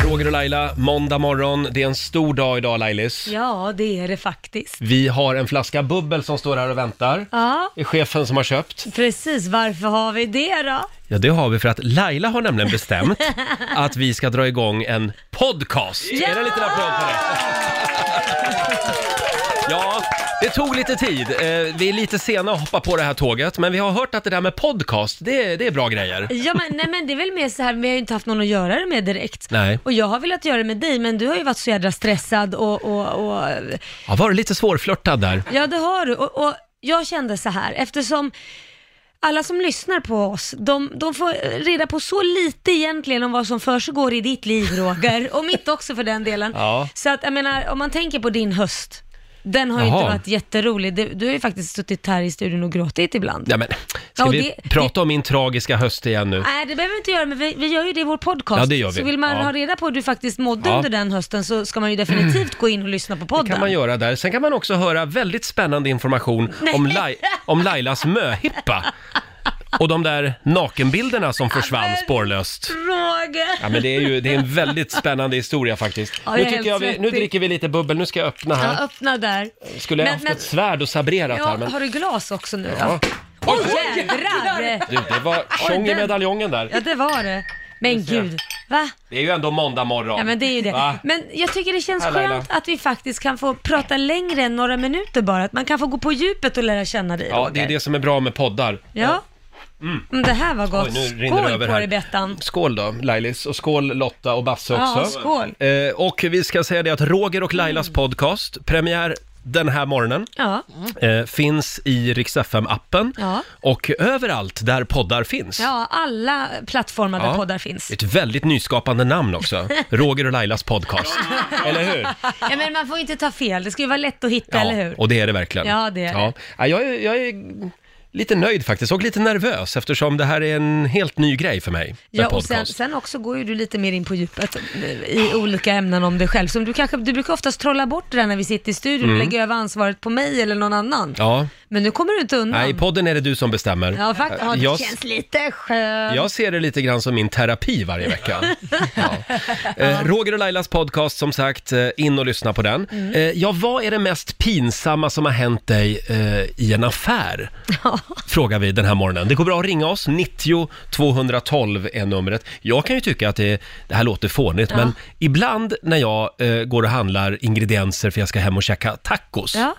Roger och Laila, måndag morgon. Det är en stor dag idag, Lailis. Ja, det är det faktiskt. Vi har en flaska bubbel som står här och väntar. Ja, Det är chefen som har köpt. precis. Varför har vi det då? Ja, det har vi för att Laila har nämligen bestämt att vi ska dra igång en podcast. Är det en liten applåd på det? Ja, det tog lite tid. Eh, vi är lite sena att hoppa på det här tåget, men vi har hört att det där med podcast, det, är- det är bra grejer. Ja, men, nej, men det är väl mer så här, vi har ju inte haft någon att göra det med direkt. Nej. Och jag har velat göra det med dig, men du har ju varit så jädra stressad och... och, och Jag var lite svårflörtad där. ja, det har du. Och, och jag kände så här, eftersom alla som lyssnar på oss, de, de får eh, reda på så lite egentligen om vad som försiggår i ditt liv, Roger, och mitt också för den delen. Ja. Så att, jag menar, om man tänker på din höst, den har ju Jaha. inte varit jätterolig. Du, du har ju faktiskt suttit här i studion och gråtit ibland. Ja, men, Ja, ska vi det- prata om min tragiska höst igen nu? Nej, det behöver vi inte göra, men vi, vi gör ju det i vår podcast. Ja, det gör vi. Så vill man Ja. ha reda på hur du faktiskt mådde Ja. under den hösten så ska man ju definitivt gå in och lyssna på podden. kan man göra där. Sen kan man också höra väldigt spännande information om, Lai- om Lailas möhippa. Och de där nakenbilderna som försvann spårlöst. Roger! Ja, men det är ju det är en väldigt spännande historia faktiskt. Ja, nu, jag är tycker helt jag vi, nu svettig. dricker vi lite bubbel, nu ska jag öppna Ja, här. öppna där. Skulle jag haft ett svärd och sabrerat ja, här men... Har du glas också nu då? Ja. Åh jädrar! Du, det var tjong i den- medaljongen där. Ja, det var det. Men gud, va? Det är ju ändå måndag morgon. Ja men det är ju det. Va? Men jag tycker det känns Här, Laila. skönt att vi faktiskt kan få prata längre än några minuter bara. Att man kan få gå på djupet och lära känna dig Ja, Roger. det är det som är bra med poddar. Ja. Mm, det här var gott. Oj, nu rinner det Skål över på här. dig Bettan. Skål då, Lailis. Och skål Lotta och Basse också. Ja, skål. Mm. Eh, och vi ska säga det att Roger och Lailas podcast, premiär den här morgonen, Ja. eh, finns i Rix FM-appen Mm. Ja. och överallt där poddar finns. ja, alla plattformar där Ja. poddar finns. Ett väldigt nyskapande namn också. Roger och Lailas podcast. eller hur? Ja, men man får ju inte ta fel, det ska ju vara lätt att hitta, Ja, eller hur? och det är det verkligen. Ja, det är ja. Ja, jag, är, jag är lite nöjd faktiskt och lite nervös eftersom det här är en helt ny grej för mig. med Ja, och podcast. sen, sen också går ju du lite mer in på djupet eh, i olika ämnen om dig själv. Som du, kanske, du brukar oftast trolla bort det där när vi sitter i studion och Mm. lägger över ansvaret på mig eller någon annan. Ja. Men nu kommer du inte undan. Nej, i podden är det du som bestämmer. ja, fakt- ja, det jag, känns lite skönt. jag ser det lite grann som min terapi varje vecka. ja. eh, Roger och Lailas podcast, som sagt, eh, in och lyssna på den. Mm. Eh, ja, vad är det mest pinsamma som har hänt dig eh, i en affär? Frågar vi den här morgonen. Det går bra att ringa oss, 90 212 är numret. Jag kan ju tycka att det, det här låter fånigt, Ja. men ibland när jag eh, går och handlar ingredienser för jag ska hem och käka tacos, Ja.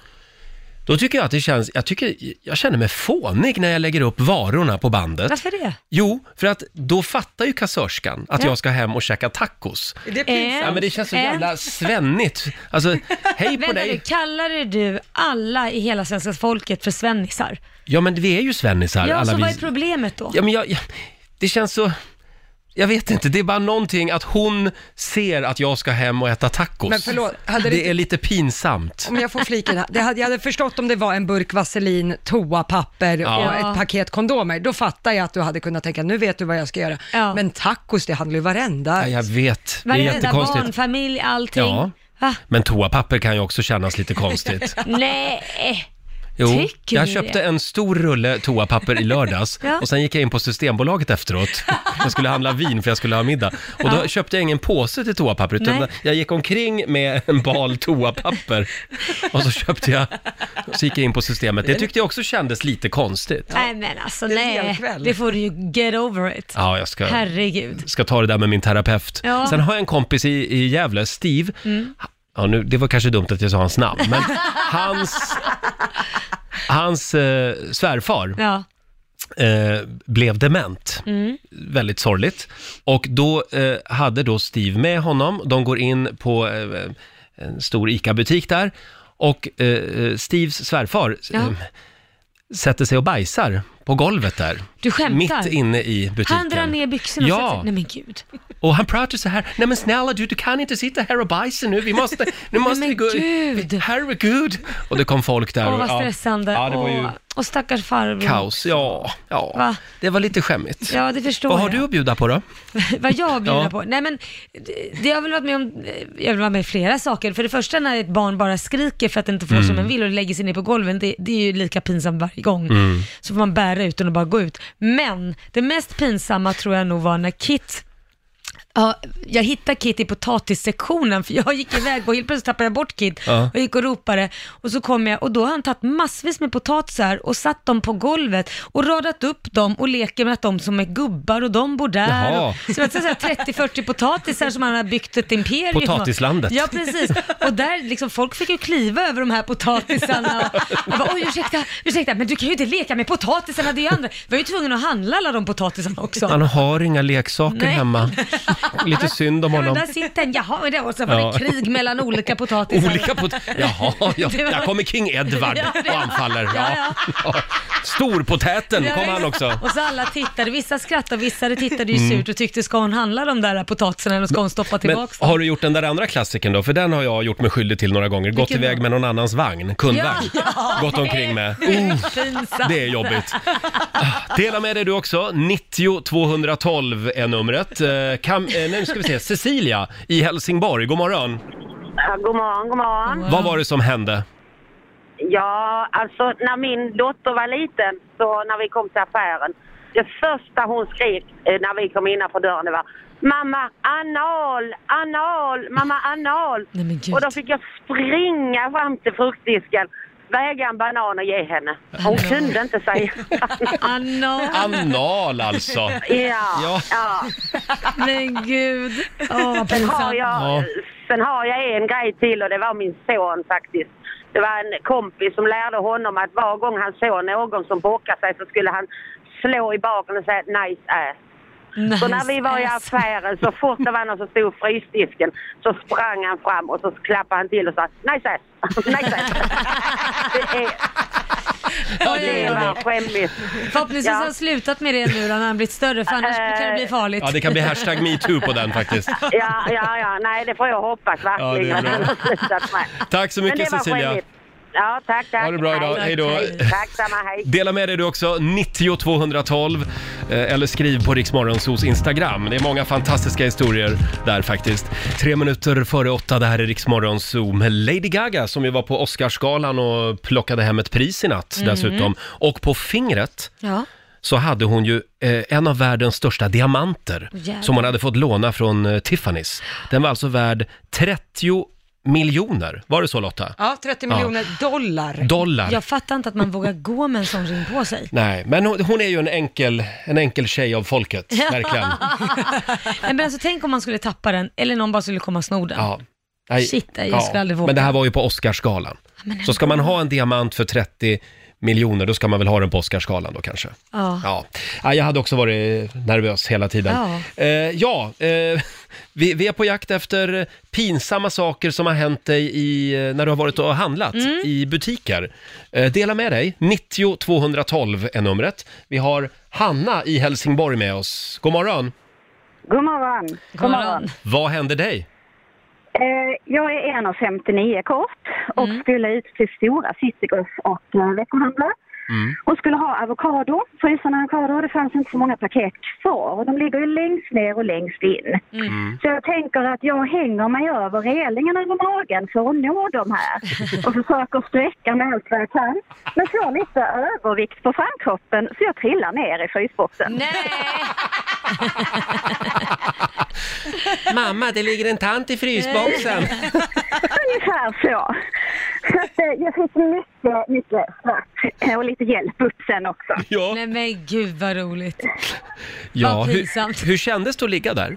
då tycker jag att det känns, jag, tycker, jag känner mig fånig när jag lägger upp varorna på bandet. Varför det? Jo, för att då fattar ju kassörskan att Ja. jag ska hem och käka tacos. Är det pinsamt? Ja, men det känns så Äh. jävla svennigt. Alltså, hej på Vänta nu, dig. kallade du alla i hela svenska folket för svennisar? Ja, men vi är ju svennisar. Ja, alla så vi... vad är problemet då? Ja, men jag, jag, det känns så... Jag vet inte, det är bara någonting att hon ser att jag ska hem och äta tacos. Men förlåt, hade det det inte- är lite pinsamt. Om jag får flika in här. det hade, Jag hade förstått om det var en burk vaselin, toapapper och Ja. ett paket kondomer. Då fattar jag att du hade kunnat tänka, nu vet du vad jag ska göra. Ja. Men tacos, det handlar ju varenda... Ja, jag vet, det är Varenda jättekonstigt. barnfamilj, allting. Ja. Va? Men toapapper kan ju också kännas lite konstigt. Nej. Jo, Tycker jag du köpte det? en stor rulle toapapper i lördags Ja. och sen gick jag in på Systembolaget efteråt. Jag skulle handla vin för jag skulle ha middag. Och då Ja. köpte jag ingen påse till toapapper utan Nej. jag gick omkring med en bal toapapper och så köpte jag, så gick jag in på Systemet. Det tyckte jag också kändes lite konstigt. Nej men alltså Det är en nej, hel kväll. det får du ju get over it. Ja, jag ska, Herregud. ska ta det där med min terapeut. Ja. Mm. Sen har jag en kompis i, i Gävle, Steve. Ja, nu, det var kanske dumt att jag sa hans namn, men hans, hans eh, svärfar Ja. eh, blev dement. Mm. Väldigt sorgligt. Och då eh, hade då Steve med honom. De går in på eh, en stor ICA-butik där och eh, eh, Steves svärfar Ja. eh, sätter sig och bajsar på golvet där. Du skämtar? Mitt inne i butiken. Han drar ner byxorna och Ja. sätter sig- Nej men gud. Och han pratar så här, nej men snälla du, du kan inte sitta här och bajsa nu, vi måste, nu måste vi gå... Gud. Herregud! Och det kom folk där. Åh och- vad stressande. Ja, ja det var ju Åh, Och stackars farbror. kaos. Ja, ja. Va? Det var lite skämmigt. Ja, det förstår Vad har jag. du att bjuda på då? vad jag bjuder Ja. på. Nej men, det- det har väl varit med om, jag har väl varit med i flera saker. För det första när ett barn bara skriker för att det inte får som Mm. en vill och lägger sig ner på golvet, det, det är ju lika pinsamt varje gång. Mm. Så får man bära ut den och bara gå ut. Men det mest pinsamma tror jag nog var när Kit Ja, jag hittade Kit i potatissektionen för jag gick iväg och helt plötsligt tappade jag bort Kit Ja. och gick och ropade och så kom jag och då har han tagit massvis med potatisar och satt dem på golvet och radat upp dem och leker med att de som är gubbar och de bor där. Jaha. Och, så det var så här 30-40 potatisar som han har byggt ett imperium av. Potatislandet. Ja, precis. Och där liksom, folk fick ju kliva över de här potatisarna. Och jag bara, oj ursäkta, ursäkta, men du kan ju inte leka med potatisarna, det är ju andra. Vi var ju tvungna att handla alla de potatisarna också. Han har inga leksaker Nej. hemma. Lite synd om Ja, men honom. Alltså, där sitter en, jaha, och där- och så var Ja. det krig mellan olika potatisar. Olika pot- Jaha, ja. där kommer King Edward Ja, det och var- anfaller. Ja, Ja. Storpotäten Ja, kom han visst. också. Och så alla tittade, vissa skrattade, vissa tittade ju Mm. surt och tyckte, ska hon handla de där potatisarna eller ska hon stoppa Men tillbaka har du gjort den där andra klassiken då? För den har jag gjort mig skyldig till några gånger. Gått Vilken iväg då? med någon annans vagn, kundvagn. Ja. Gått omkring med. Det är Oh, pinsamt. det är jobbigt. Dela med dig du också. 90 212 är numret. Eh, Kam, eh, nu ska vi se. Cecilia i Helsingborg, god morgon. Ja, god morgon, god morgon. Vad var det som hände? Ja, alltså när min dotter var liten, så när vi kom till affären, det första hon skrek eh, när vi kom innanför dörren det var Mamma, anal, anal, mamma, anal. och då fick jag springa fram till fruktdisken, väga en banan och ge henne. Hon kunde inte säga Anal. Anal alltså. Ja, ja. Men gud. sen, har jag, Ja. sen har jag en grej till och det var min son faktiskt. Det var en kompis som lärde honom att var gång han såg någon som bockade sig så skulle han slå i baken och säga nice ass. så när vi var i ass. affären så fort det var någon som stod i frysdisken så sprang han fram och så klappade han till och sa nice ass, nice ass. det är, det var skämmigt. Förhoppningsvis har han slutat med det nu när han har blivit större, för annars kan Eh, det bli farligt. Ja, det kan bli hashtag metoo på den faktiskt. Ja, ja, ja, nej det får jag hoppas verkligen. Ja, det är bra. har slutat med. Tack så mycket, Men det var Cecilia. skämmigt. Ja, tack, tack. Ha det bra idag. Hej då. Tack samma, hej. Dela med dig du också, 90 212 eh, eller skriv på Riksmorgonsos Instagram. Det är många fantastiska historier där faktiskt. Tre minuter före åtta, det här är Riksmorgonso med Lady Gaga som ju var på Oscarsgalan och plockade hem ett pris i natt Mm. dessutom. Och på fingret Ja. så hade hon ju eh, en av världens största diamanter Åh, jävlar. som hon hade fått låna från eh, Tiffany's. Den var alltså värd 30 miljoner. Var det så Lotta? Ja, 30 miljoner dollar. Dollar. Jag fattar inte att man vågar gå med en sån ring på sig. Nej, men hon, hon är ju en enkel, en enkel tjej av folket, verkligen. Nej, men alltså, tänk om man skulle tappa den, eller någon bara skulle komma och sno den. Ja. Nej, Shit, nej, jag skulle aldrig våga. Men det här var ju på Oscarsgalan. men Så ska man ha en diamant för 30 miljoner, då ska man väl ha den på Oscarsgalan då kanske. Ja. Ja. Ja, jag hade också varit nervös hela tiden. Ja. Eh, ja eh, vi, vi är på jakt efter pinsamma saker som har hänt dig i, eh, när du har varit och handlat Mm. i butiker. Eh, dela med dig, 90 212 är numret. Vi har Hanna i Helsingborg med oss. God morgon! God morgon. God morgon. Vad hände dig? Eh, jag är 1,59 kort och skulle ut till Stora Citygross och eh, veckohandla. Och skulle ha avokado, frysande avokado. Det fanns inte så många paket kvar. Och de ligger ju längst ner och längst in. Så jag tänker att jag hänger mig över relingen över magen för att nå de här. Och försöker sträcka mig allt vad jag kan. Men får lite övervikt på framkroppen så jag trillar ner i frysboxen. Mamma, det ligger en tant i frysboxen. Ungefär så. Så att, eh, jag fick mycket, mycket svart eh, och lite hjälp upp sen också. Ja. Nej men gud vad roligt. Ja, Vad hur, pinsamt. hur kändes det att ligga där?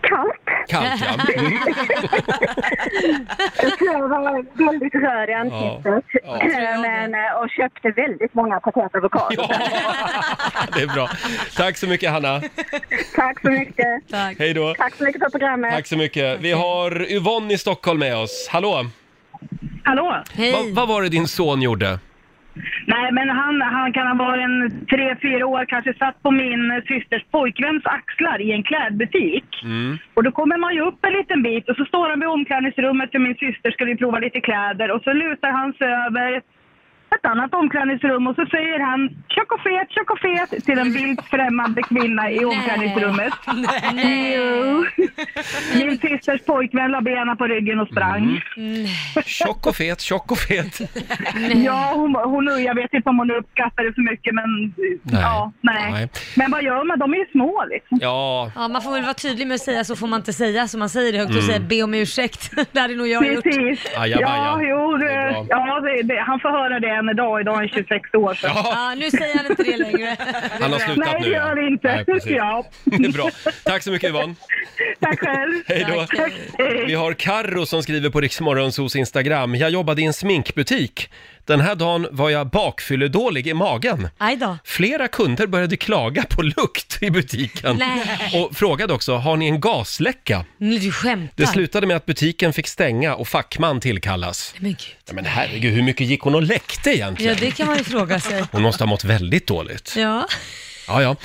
Kallt, Kallt, ja. Mm. Så jag var väldigt röd i ansiktet. Ja. Men, eh, och köpte väldigt många paket avokado. Det är bra. Tack så mycket, Hanna. Tack så mycket. Tack. Hej då. Tack så mycket för programmet. Tack så mycket. Vi har Yvonne i Stockholm med oss. Hallå! Hallå! Va, vad var det din son gjorde? Nej, men han, han kan ha varit en tre, fyra år, kanske satt på min systers pojkväns axlar i en klädbutik. Mm. Och då kommer man ju upp en liten bit och så står han vid omklädningsrummet för min syster ska vi prova lite kläder och så lutar han sig över ett annat omklädningsrum och så säger han tjock och fet, tjock och fet till en vilt främmande kvinna i omklädningsrummet. Nej. Jo. Min systers pojkvän la benen på ryggen och sprang. Tjock och fet, tjock och fet. Ja, hon, hon, jag vet inte om hon uppskattar det så mycket, men Nej. ja, nej. Nej. Men vad gör man? De är ju små liksom. Ja, Ja, man får väl vara tydlig med att säga så får man inte säga så man säger det högt och Mm. säger be om ursäkt. det hade nog jag gjort. Precis. Ajabaja. Ja, jo, det, ja det, det, han får höra det än idag. Idag är han 26 år. Så. Ja. nu säger han inte det längre. han har slutat Nej, nu. det gör det inte. Nej, precis. ja. Det är bra. Tack så mycket Yvonne. Tack själv. Hej då. Vi har Karro som skriver på Riksmorgonsos Instagram. Jag jobbade i en sminkbutik. Den här dagen var jag bakfylledålig i magen. Aj då. Flera kunder började klaga på lukt i butiken Nej. och frågade också, har ni en gasläcka? Nu, du skämtar. Det slutade med att butiken fick stänga och fackman tillkallas. Men gud. Ja, men herregud, hur mycket gick hon och läckte Ja, egentligen? det kan man ju fråga sig. Hon måste ha mått väldigt dåligt. Ja. Ja, ja.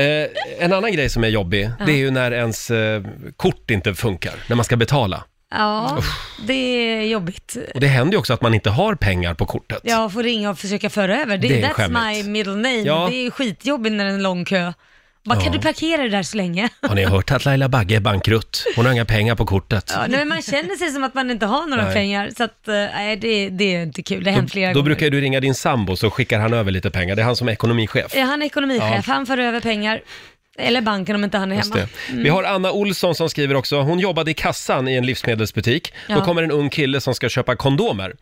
Eh, en annan grej som är jobbig, Ja. det är ju när ens eh, kort inte funkar, när man ska betala. Ja, det är jobbigt. Och det händer ju också att man inte har pengar på kortet. Jag får ringa och försöka föra över. Det, Det är that's skämmigt. my middle name. Ja. Det är skitjobbigt när det är en lång kö. Bara, Ja. Kan du parkera det där så länge? Har ni hört att Laila Bagge är bankrutt? Hon har inga pengar på kortet. Ja, nej, men man känner sig som att man inte har några Nej. pengar. Så att, eh, nej, det, det är inte kul. Det har hänt flera Då gånger. brukar du ringa din sambo så skickar han över lite pengar. Det är han som är ekonomichef. Är han ekonomichef? Ja. Han för över pengar. Eller banken om inte han är Just hemma. det. Vi har Anna Olsson som skriver också, hon jobbade i kassan i en livsmedelsbutik. Då Ja. Ah. kommer en ung kille som ska köpa kondomer.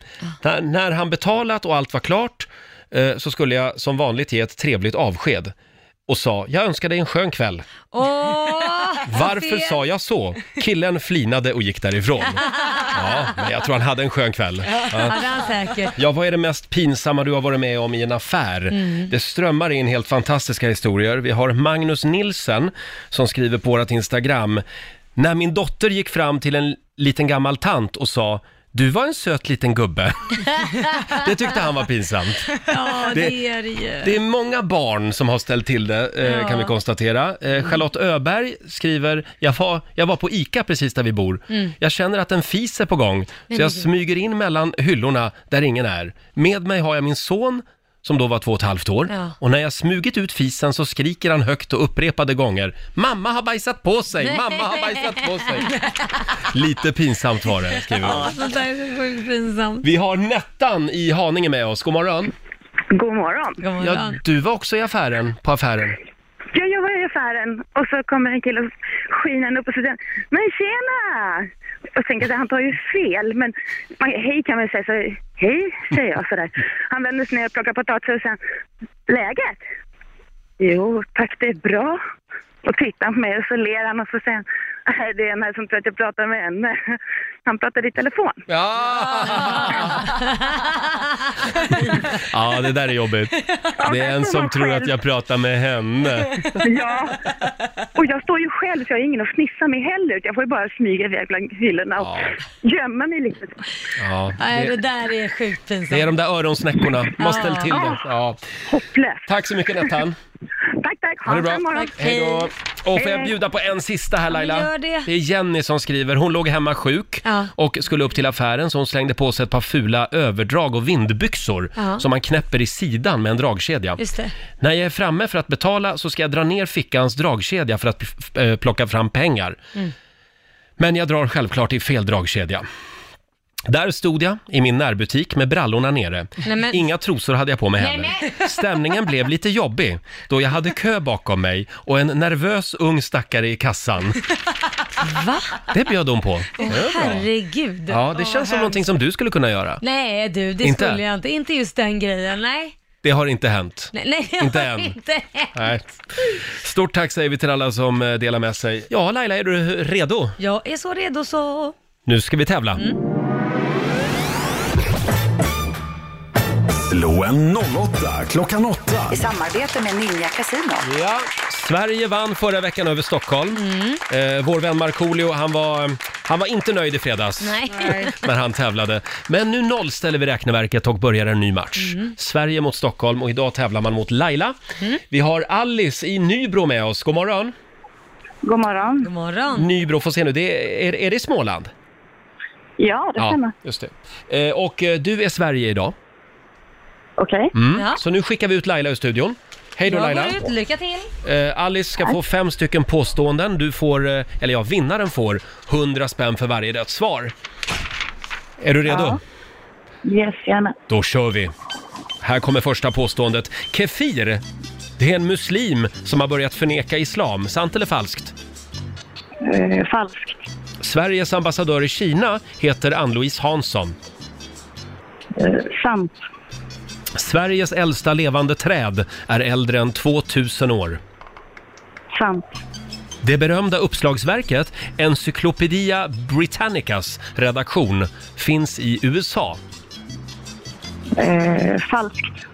När, när han betalat och allt var klart eh, så skulle jag som vanligt ge ett trevligt avsked och sa, jag önskar dig en skön kväll. Åh, Varför sa jag så? Killen flinade och gick därifrån. Ja, men jag tror han hade en skön kväll. Ja, det Ja. hade han säkert. Ja, vad är det mest pinsamma du har varit med om i en affär? Mm. Det strömmar in helt fantastiska historier. Vi har Magnus Nilsen som skriver på vårt Instagram. När min dotter gick fram till en liten gammal tant och sa du var en söt liten gubbe. Det tyckte han var pinsamt. Ja, det, Det- är det ju. Det är många barn som har ställt till det, eh, Ja. Mm. kan vi konstatera. Eh, Charlotte Öberg skriver, jag var, jag var på ICA precis där vi bor. Mm. Jag känner att en fis är på gång, men så jag gud. smyger in mellan hyllorna där ingen är. Med mig har jag min son, som då var två och ett halvt år. Ja. Och när jag smugit ut fisen så skriker han högt och upprepade gånger, mamma har bajsat på sig, mamma har bajsat på sig. Lite pinsamt var det, skriver hon. Ja, sånt där är så sjukt pinsamt. Vi har Nettan i Haninge med oss, god morgon. God morgon. God Ja, du var också i affären, på affären. Jag jobbar i affären och så kommer en kille skinande upp och säger Men tjena! Och tänker att han tar ju fel, men man, hej kan man säga. Så, hej, säger jag sådär. Han vänder sig ner och plockar potatis och säger Läget? Jo, tack det är bra. Och tittar på mig och så ler han och så säger han "Nej, det är en här som tror att jag pratar med henne. Han pratar i telefon. Ja, det där är jobbigt. Det är en som tror att jag pratar med henne. Ja. Och jag står ju själv så jag har ingen att snissa med heller. Jag får ju bara smyga iväg bland hyllorna och gömma mig lite. Ja, Nej, det det, där är sjukt pinsamt. det är de där öronsnäckorna. Man har ställt till det. Ja. Tack så mycket Nettan. Tack, tack. Ha det bra. Hej då. Och får jag Hej. bjuda på en sista här Laila? Ja, men gör det. är Jenny som skriver. Hon låg hemma sjuk Ja. och skulle upp till affären så hon slängde på sig ett par fula överdrag och vindbyxor Ja. som man knäpper i sidan med en dragkedja. Just det. När jag är framme för att betala så ska jag dra ner fickans dragkedja för att pf- eh, plocka fram pengar. Mm. Men jag drar självklart i fel dragkedja. Där stod jag i min närbutik med brallorna nere. Nej, men- Inga trosor hade jag på mig Nej, heller. men- Stämningen blev lite jobbig då jag hade kö bakom mig och en nervös ung stackare i kassan. Va? Det bjöd hon på. Åh, Det var bra. herregud. Ja, Åh, det vad känns som hemskt. någonting som du skulle kunna göra. Nej du, det Inte? skulle jag inte. Inte just den grejen, nej. det har inte hänt. Nej, nej det Inte har än. Inte än. Nej. Stort tack säger vi till alla som eh, delar med sig. Ja, Laila, är du redo? Jag är så redo så... Nu ska vi tävla. Loen 08, klockan 8. I samarbete med Ninja Casino. Ja. Sverige vann förra veckan över Stockholm. Eh, vår vän Markoolio, han var, han var inte nöjd i fredags Nej. när han tävlade. Men nu nollställer vi räkneverket och börjar en ny match. Mm. Sverige mot Stockholm och idag tävlar man mot Laila. Vi har Alice i Nybro med oss. God morgon! God morgon. God morgon. Nybro, får se nu, det är, är, är det i Småland? Ja, det stämmer. just det. Eh, och eh, du är Sverige idag. Okej. Mm. Ja. Så nu skickar vi ut Laila ur studion. Hej då jag Laila! går ut. Lycka till. Eh, Alice ska få fem stycken påståenden. Du får, eh, eller ja, vinnaren får 100 spänn för varje rätt svar. Är du redo? Ja. Yes, gärna. Då kör vi! Här kommer första påståendet. Kefir, det är en muslim som har börjat förneka islam. Sant eller falskt? Eh, falskt. Sveriges ambassadör i Kina heter Ann-Louise Hansson. Eh, sant. Sveriges äldsta levande träd är äldre än 2000 år. Sant. Det berömda uppslagsverket Encyclopedia Britannicas redaktion finns i USA. Eh, falskt.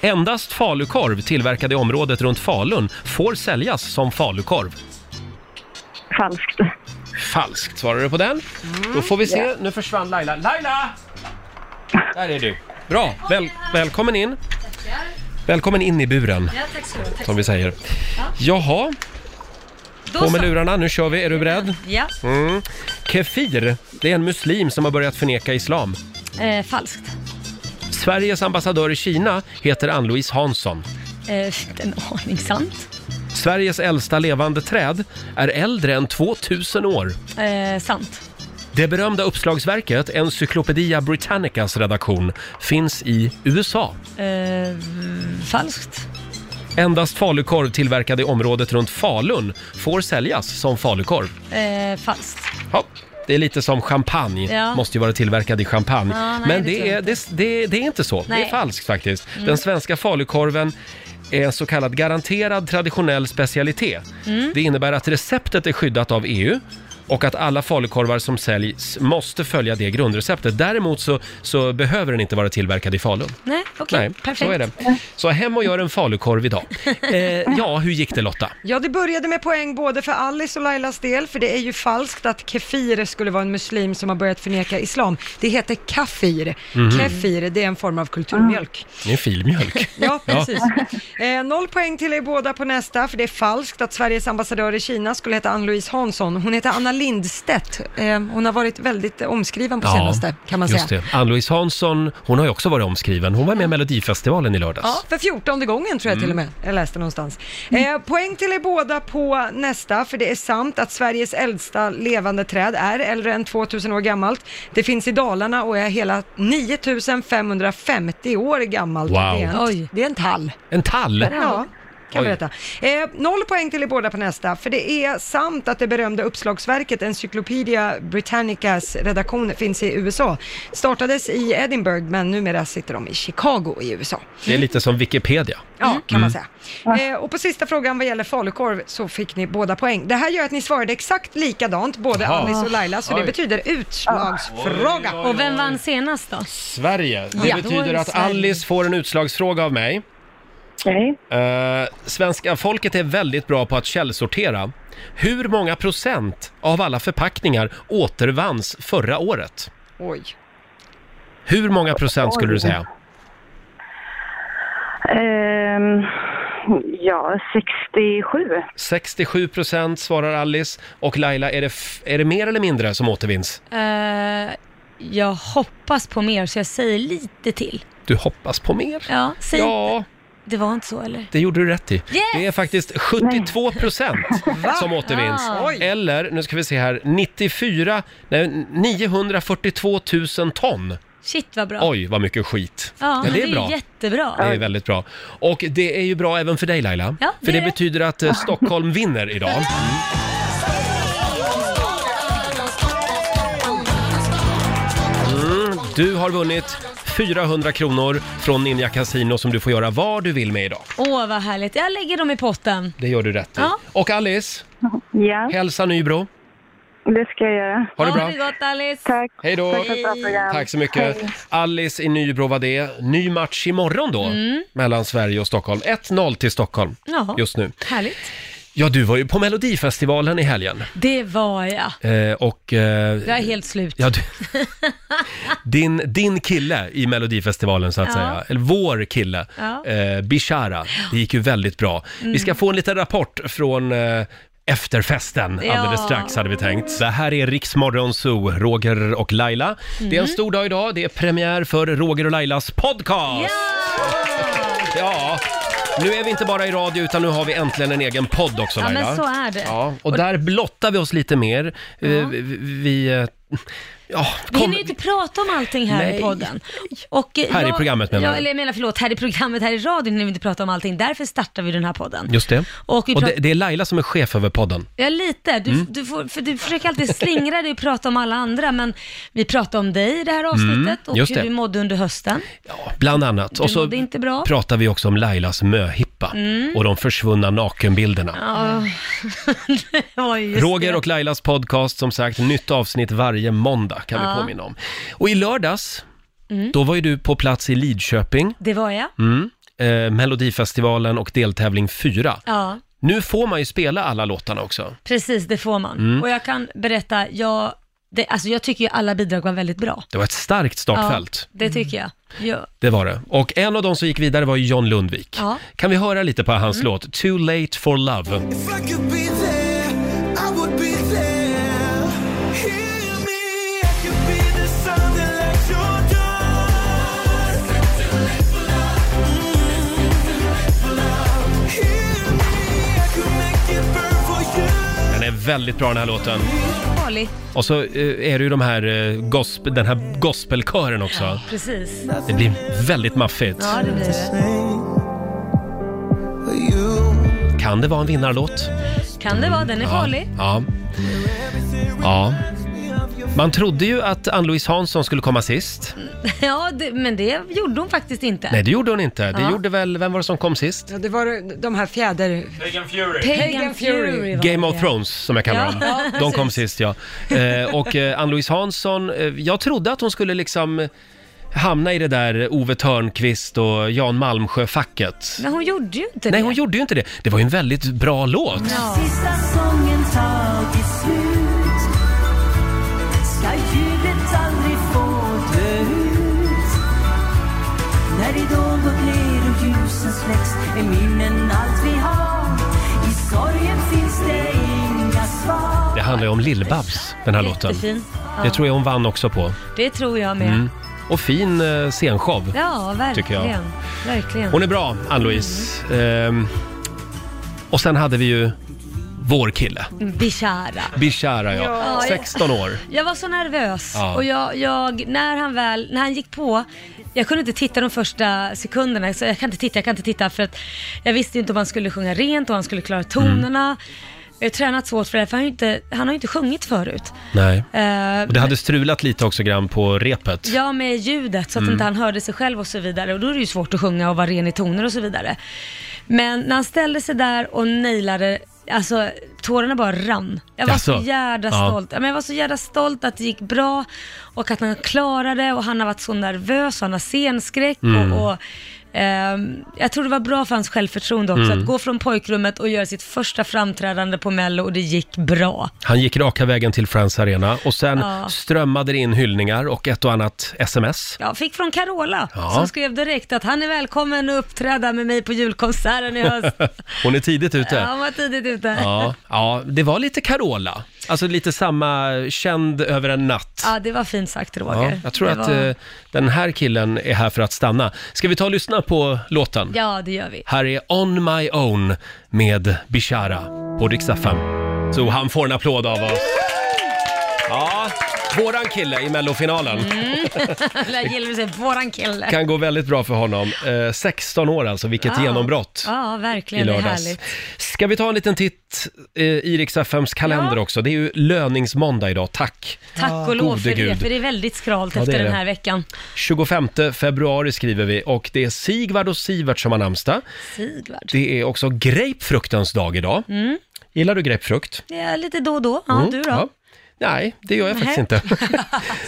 Endast falukorv tillverkad i området runt Falun får säljas som falukorv. Falskt. Falskt, svarar du på den? Då får vi se. Nu försvann Laila. Laila! Där är du. Bra, Väl, välkommen in. Välkommen in i buren, Ja, tack så mycket. Tack så som vi mycket. säger. Ja. Jaha, Då på så. med lurarna. Nu kör vi. Är du beredd? Ja, Mm. Kefir, det är en muslim som har börjat förneka islam. Mm. eh, falskt. Sveriges ambassadör i Kina heter Ann-Louise Hansson. Eh, en aning sant. Sveriges äldsta levande träd är äldre än 2000 år. Eh, sant. Det berömda uppslagsverket Encyclopedia Britannicas redaktion finns i USA. Eh, falskt. Endast falukorv tillverkad i området runt Falun får säljas som falukorv. Eh, falskt. Ja, det är lite som champagne, Ja. måste ju vara tillverkad i champagne. Ja, nej, Men det tror det jag är, det, det, det är inte så, det Nej. är falskt faktiskt. Mm. Den svenska falukorven är en så kallad garanterad traditionell specialitet. Mm. Det innebär att receptet är skyddat av EU och att alla falukorvar som säljs måste följa det grundreceptet. Däremot så, så behöver den inte vara tillverkad i Falun. Nej, okej. perfekt. så är det. Så hem och gör en falukorv idag. Eh, ja, hur gick det Lotta? Ja, det började med poäng både för Alice och Lailas del, för det är ju falskt att kefir skulle vara en muslim som har börjat förneka islam. Det heter kafir. Mhm. Kefir, det är en form av kulturmjölk. Det är filmjölk. Ja, precis. Eh, noll poäng till er båda på nästa, för det är falskt att Sveriges ambassadör i Kina skulle heta Ann-Louise Hansson. Hon heter Anna Lindstedt. Eh, hon har varit väldigt eh, omskriven på senaste, kan man just säga. det. Ann-Louise Hansson, hon har ju också varit omskriven. Hon var med i Melodifestivalen i lördags. Ja, för fjortonde gången tror jag Mm. till och med. Jag läste någonstans. Eh, poäng till er båda på nästa, för det är sant att Sveriges äldsta levande träd är äldre än 2000 år gammalt. Det finns i Dalarna och är hela 9550 år gammalt. Wow. Det, är en, det är en tall. En tall? Ja. Kan Oj. berätta. Eh, noll poäng till er båda på nästa, för det är sant att det berömda uppslagsverket Encyclopedia Britannicas redaktion finns i USA. Startades i Edinburgh, men numera sitter de i Chicago i USA. Det är lite som Wikipedia. Ja, kan Mm. man säga. Eh, och på sista frågan vad gäller falukorv så fick ni båda poäng. Det här gör att ni svarade exakt likadant, både Jaha. Alice och Laila, så Oj. det betyder utslagsfråga. Och vem vann senast då? Sverige. Det Ja, då är betyder det att Sverige. Alice får en utslagsfråga av mig. Eh, svenska folket är väldigt bra på att källsortera. Hur många procent av alla förpackningar återvanns förra året? Oj. Hur många procent skulle du säga? Ehm, ja, 67. 67 procent svarar Alice och Laila, är det, f- är det mer eller mindre som återvinns? Eh, jag hoppas på mer så jag säger lite till. Du hoppas på mer? Ja, säg Ja. inte. Det var inte så eller? Det gjorde du rätt i. Det är faktiskt 72 procent som återvinns. Ah. Oj. Eller, nu ska vi se här, 94, nej, 942 000 ton. Shit vad bra. Oj, vad mycket skit. Ja, det är ju bra. jättebra. Det är väldigt bra. Och det är ju bra även för dig Laila. Ja, det för det, är det. Mm. betyder att eh, Stockholm vinner idag. Mm, du har vunnit 400 kronor från Ninja Casino som du får göra vad du vill med idag. Åh, vad härligt. Jag lägger dem i potten. Det gör du rätt i. Ja. Och Alice, Ja. hälsa Nybro. Det ska jag göra. Ha det bra. Ha det gott Alice. Tack. Hej då! Tack så mycket. Alice i Nybro var det. Ny match imorgon då, Mm. mellan Sverige och Stockholm. 1-0 till Stockholm Jaha. just nu. Härligt. Ja, du var ju på Melodifestivalen i helgen. Det var jag. Eh, och... Eh, Jag är helt slut. Ja, du, din, din kille i Melodifestivalen så att Ja. säga, eller vår kille, Ja. eh, Bishara, det gick ju väldigt bra. Vi ska Mm. få en liten rapport från eh, Efterfesten Ja. alldeles strax hade vi tänkt. Det här är Riksmorgon Zoo, Roger och Laila. Det är en Mm. stor dag idag, det är premiär för Roger och Lailas podcast! Ja! Nu är vi inte bara i radio utan nu har vi äntligen en egen podd också Ja, Laila. men så är det. Ja, och där blottar vi oss lite mer. Eh, vi- Vi... eh, Ja, Vi hinner ju inte prata om allting här Nej. i podden. Och, eh, Här i jag- programmet menar ja, du? eller jag menar förlåt, här i programmet, här i radion hinner vi inte prata om allting. Därför startar vi den här podden. Just det. Och Och, vi det, pratar- det är Laila som är chef över podden. Ja, lite. Du, Mm. du, får, för du försöker alltid slingra dig och prata om alla andra, men vi pratar om dig i det här avsnittet och Mm, just hur det. du mådde under hösten. Bland annat. Du och så mådde inte bra. pratar vi också om Lailas möhippa Mm. och de försvunna nakenbilderna. Ja, det var ju just Roger det. och Lailas podcast, som sagt, nytt avsnitt varje måndag kan Ja. vi påminna om. Och i lördags, Mm. då var ju du på plats i Lidköping, Det var jag. mm. eh, Melodifestivalen och deltävling 4. Ja, Nu får man ju spela alla låtarna också. precis, det får man. Mm. Och jag kan berätta, jag, det, alltså jag tycker ju alla bidrag var väldigt bra. Det var ett starkt startfält, Ja, det tycker jag. Ja. det var det. Och en av de som gick vidare var ju John Lundvik. Ja. Mm. Kan vi höra lite på hans låt Too Late For Love? If I could be there, I would be there. Hear me, I could be the sun that lights your dawn. Mm. Hear me, I could make it burn for you. Den är väldigt bra den här låten. Farlig. Och så eh, är det ju de här, eh, gosp- den här gospelkören också. Precis. Det blir väldigt maffigt. Ja, det blir det. Kan det vara en vinnarlåt? Kan det vara, den är farlig. Ja. ja. Man trodde ju att Ann-Louise Hansson skulle komma sist. Ja, det, men det gjorde hon faktiskt inte. Nej, det gjorde hon inte. Det Ja. gjorde väl, vem var det som kom sist? Ja, det var de här fjäder... Pagan Fury. Pagan Fury. var Game det. of Thrones, som jag kallar Ja, ja, dem. De precis. kom sist, ja. Eh, och eh, Ann-Louise Hansson, eh, jag trodde att hon skulle liksom hamna i det där Ove Törnqvist och Jan Malmsjö-facket. Men hon gjorde ju inte Nej, det. hon gjorde ju inte det. Det var ju en väldigt bra låt. Ja. Sista sången tagit slut Ska jublet aldrig få dö ut När ridån går ner och ljusen släcks Är minnen allt vi har I sorgen finns det inga svar Det handlar ju om Lill-Babs, den här låten. Jättefin. Ja. Det tror jag hon vann också på. Det tror jag med. Mm. Och fin eh, scenshow. Ja, Tycker jag. verkligen. verkligen. Hon är bra, Ann-Louise. Ehm, och sen hade vi ju vår kille, Bishara. Bishara ja. Ja. 16 år. Jag var så nervös Ja. och jag, jag, när han väl, när han gick på, jag kunde inte titta de första sekunderna, så jag kan inte titta, jag kan inte titta för att jag visste ju inte om han skulle sjunga rent och han skulle klara tonerna. Mm. Jag har tränat svårt för det, för han har ju inte, han har ju inte sjungit förut. Nej. Eh, Och det hade strulat lite också grann på repet. Ja, med ljudet, så att Mm. inte han hörde sig själv och så vidare. Och då är det ju svårt att sjunga och vara ren i toner och så vidare. Men när han ställde sig där och nailade, alltså tårarna bara rann. Jag var Jaså? så jädra Ja. stolt. Ja, men jag var så jädra stolt att det gick bra och att han klarade och han har varit så nervös och han har scenskräck Mm. och, och ehm, jag tror det var bra för hans självförtroende också, Mm. att gå från pojkrummet och göra sitt första framträdande på Mello och det gick bra. Han gick raka vägen till Friends Arena och sen Ja. strömmade det in hyllningar och ett och annat sms. Ja, fick från Carola Ja. som skrev direkt att han är välkommen att uppträda med mig på julkonserten i höst. Hon är tidigt ute. ja, han var tidigt ute. Ja, ja, det var lite Carola. Alltså lite samma känd över en natt. Ja, det var fint sagt Roger. Ja, jag tror det att var... eh, den här killen är här för att stanna. Ska vi ta och lyssna på låten? Ja, det gör vi. Här är On My Own med Bishara på Riksaffären. Så han får en applåd av oss. Ja, Våran kille i mellofinalen. Mm. Där gillar du sig, våran kille. Kan gå väldigt bra för honom. Eh, 16 år alltså, vilket Ja. genombrott. Ja, I verkligen. Det är lördags. härligt. Ska vi ta en liten titt eh, i Rix FMs kalender också? Det är ju löningsmåndag idag, tack! Tack och lov Gode för det, Gud. för det är väldigt skralt Ja, det efter är den det. här veckan. 25 februari skriver vi och det är Sigvard och Sivert som har namnsdag. Sigvard. Det är också grapefruktens dag idag. Mm. Gillar du grapefrukt? Ja, lite då och då. Ja, Mm, du då? ja. Nej, det gör jag faktiskt inte.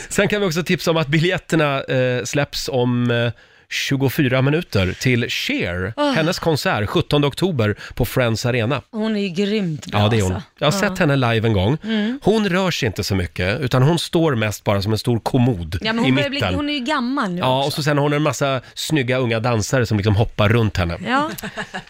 Sen kan vi också tipsa om att biljetterna eh, släpps om eh, 24 minuter till Cher, Ah. hennes konsert 17 oktober på Friends Arena. Hon är ju grymt bra Ja, det är hon. Alltså. Jag har sett henne live en gång. Mm. Hon rör sig inte så mycket, utan hon står mest bara som en stor kommod Ja, men i hon, börjar mitten. bli, hon är ju gammal nu. Ja, och så sen har hon en massa snygga unga dansare som liksom hoppar runt henne. Ja.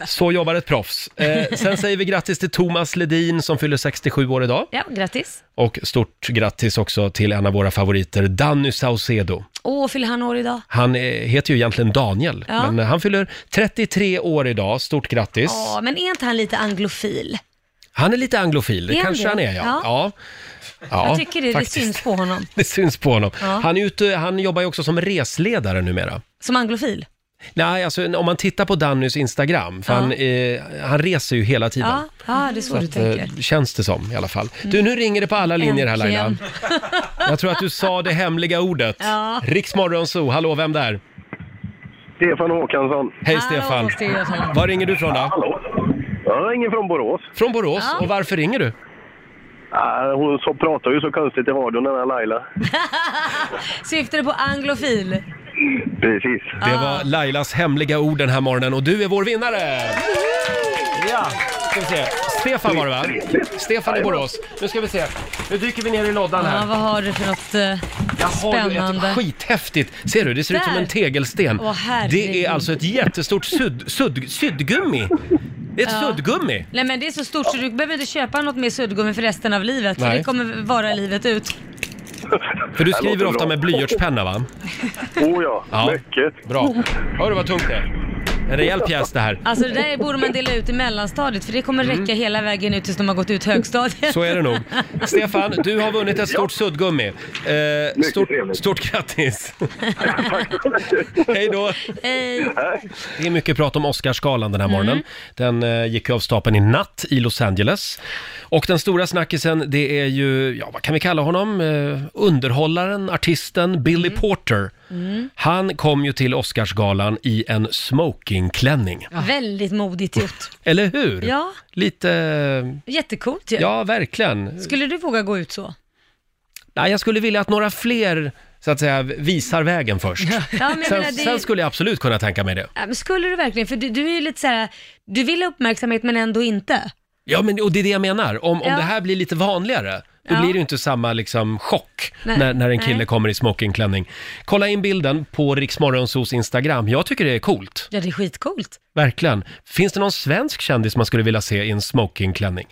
Så jobbar ett proffs. Eh, sen säger vi grattis till Thomas Ledin som fyller 67 år idag. ja, grattis. Och stort grattis också till en av våra favoriter, Danny Saucedo. Åh, fyller han år idag? Han eh, heter ju egentligen Daniel, Ja. men eh, han fyller 33 år idag. Stort grattis. Ja, men är inte han lite anglofil? Han är lite anglofil, det Är han kanske det? han är, ja. Ja. ja. Ja, jag tycker det, det faktiskt. syns på honom. Det syns på honom. Ja. Han, är ute, han jobbar ju också som resledare numera. Som anglofil? Nej, alltså om man tittar på Dannys Instagram, för Ja. han, eh, han reser ju hela tiden. Ja, ja, det är så, du att, eh, tänker. Mm. känns det som i alla fall. Du, nu ringer det på alla linjer här Laila. Äntligen. Jag tror att du sa det hemliga ordet. Ja. Riksmorgonzoo, hallå, vem där? Stefan Håkansson. Hej Stefan. Stefan. Var ringer du ifrån då? Hallå. Jag ringer från Borås. Från Borås? Ja. Och varför ringer du? Ah, hon så pratar ju så konstigt i radion den här Laila. Syftar du på anglofil? Precis. Det Ah. var Lailas hemliga ord den här morgonen och du är vår vinnare! Ja, ska vi se. Stefan var det va? Stefan i Borås. Nu ska vi se. Nu dyker vi ner i lådan Ja, här. vad har du för något eh, Har du spännande? ett skithäftigt, ser du? Det ser ut som Där. en tegelsten. Åh, herregud. det är alltså ett jättestort sudd, sudd, suddgummi. Det är ett Ja. suddgummi. Nej men det är så stort så du behöver inte köpa något mer suddgummi för resten av livet. För Nej. det kommer vara livet ut. För du Det skriver låter ofta bra. med blyertspenna va? Oh ja, mycket. Bra. Hör du vad tungt det är? En rejäl pjäs det här. Alltså det där borde man dela ut i mellanstadiet för det kommer räcka hela vägen ut tills de har gått ut högstadiet. Mm. Så är det nog. Stefan, du har vunnit ett stort suddgummi. Eh, stort, trevligt. stort grattis! Hej då! Hej. Det är mycket prat om Oscarsgalan den här Mm. morgonen. Den eh, gick ju av stapeln i natt i Los Angeles. Och den stora snackisen, det är ju, ja vad kan vi kalla honom? Eh, underhållaren, artisten Billy Porter. Mm. Han kom ju till Oscarsgalan i en smokingklänning. Väldigt modigt gjort. Eller hur? Ja. Lite... Jättecoolt ju. Ja, verkligen. Skulle du våga gå ut så? Nej, jag skulle vilja att några fler så att säga visar vägen först. Ja, men jag sen, menar, det är- sen skulle jag absolut kunna tänka mig det. Ja, men skulle du verkligen? För du, du är ju lite såhär, du vill ha uppmärksamhet men ändå inte. Ja, men och det är det jag menar. Om, om Ja. det här blir lite vanligare, då Ja. blir det ju inte samma liksom chock Nej. när, när en kille Nej. kommer i smokingklänning. Kolla in bilden på Riksmorgonsos Instagram. Jag tycker det är coolt. Ja det är skitcoolt. Verkligen. Finns det någon svensk kändis man skulle vilja se i en smokingklänning?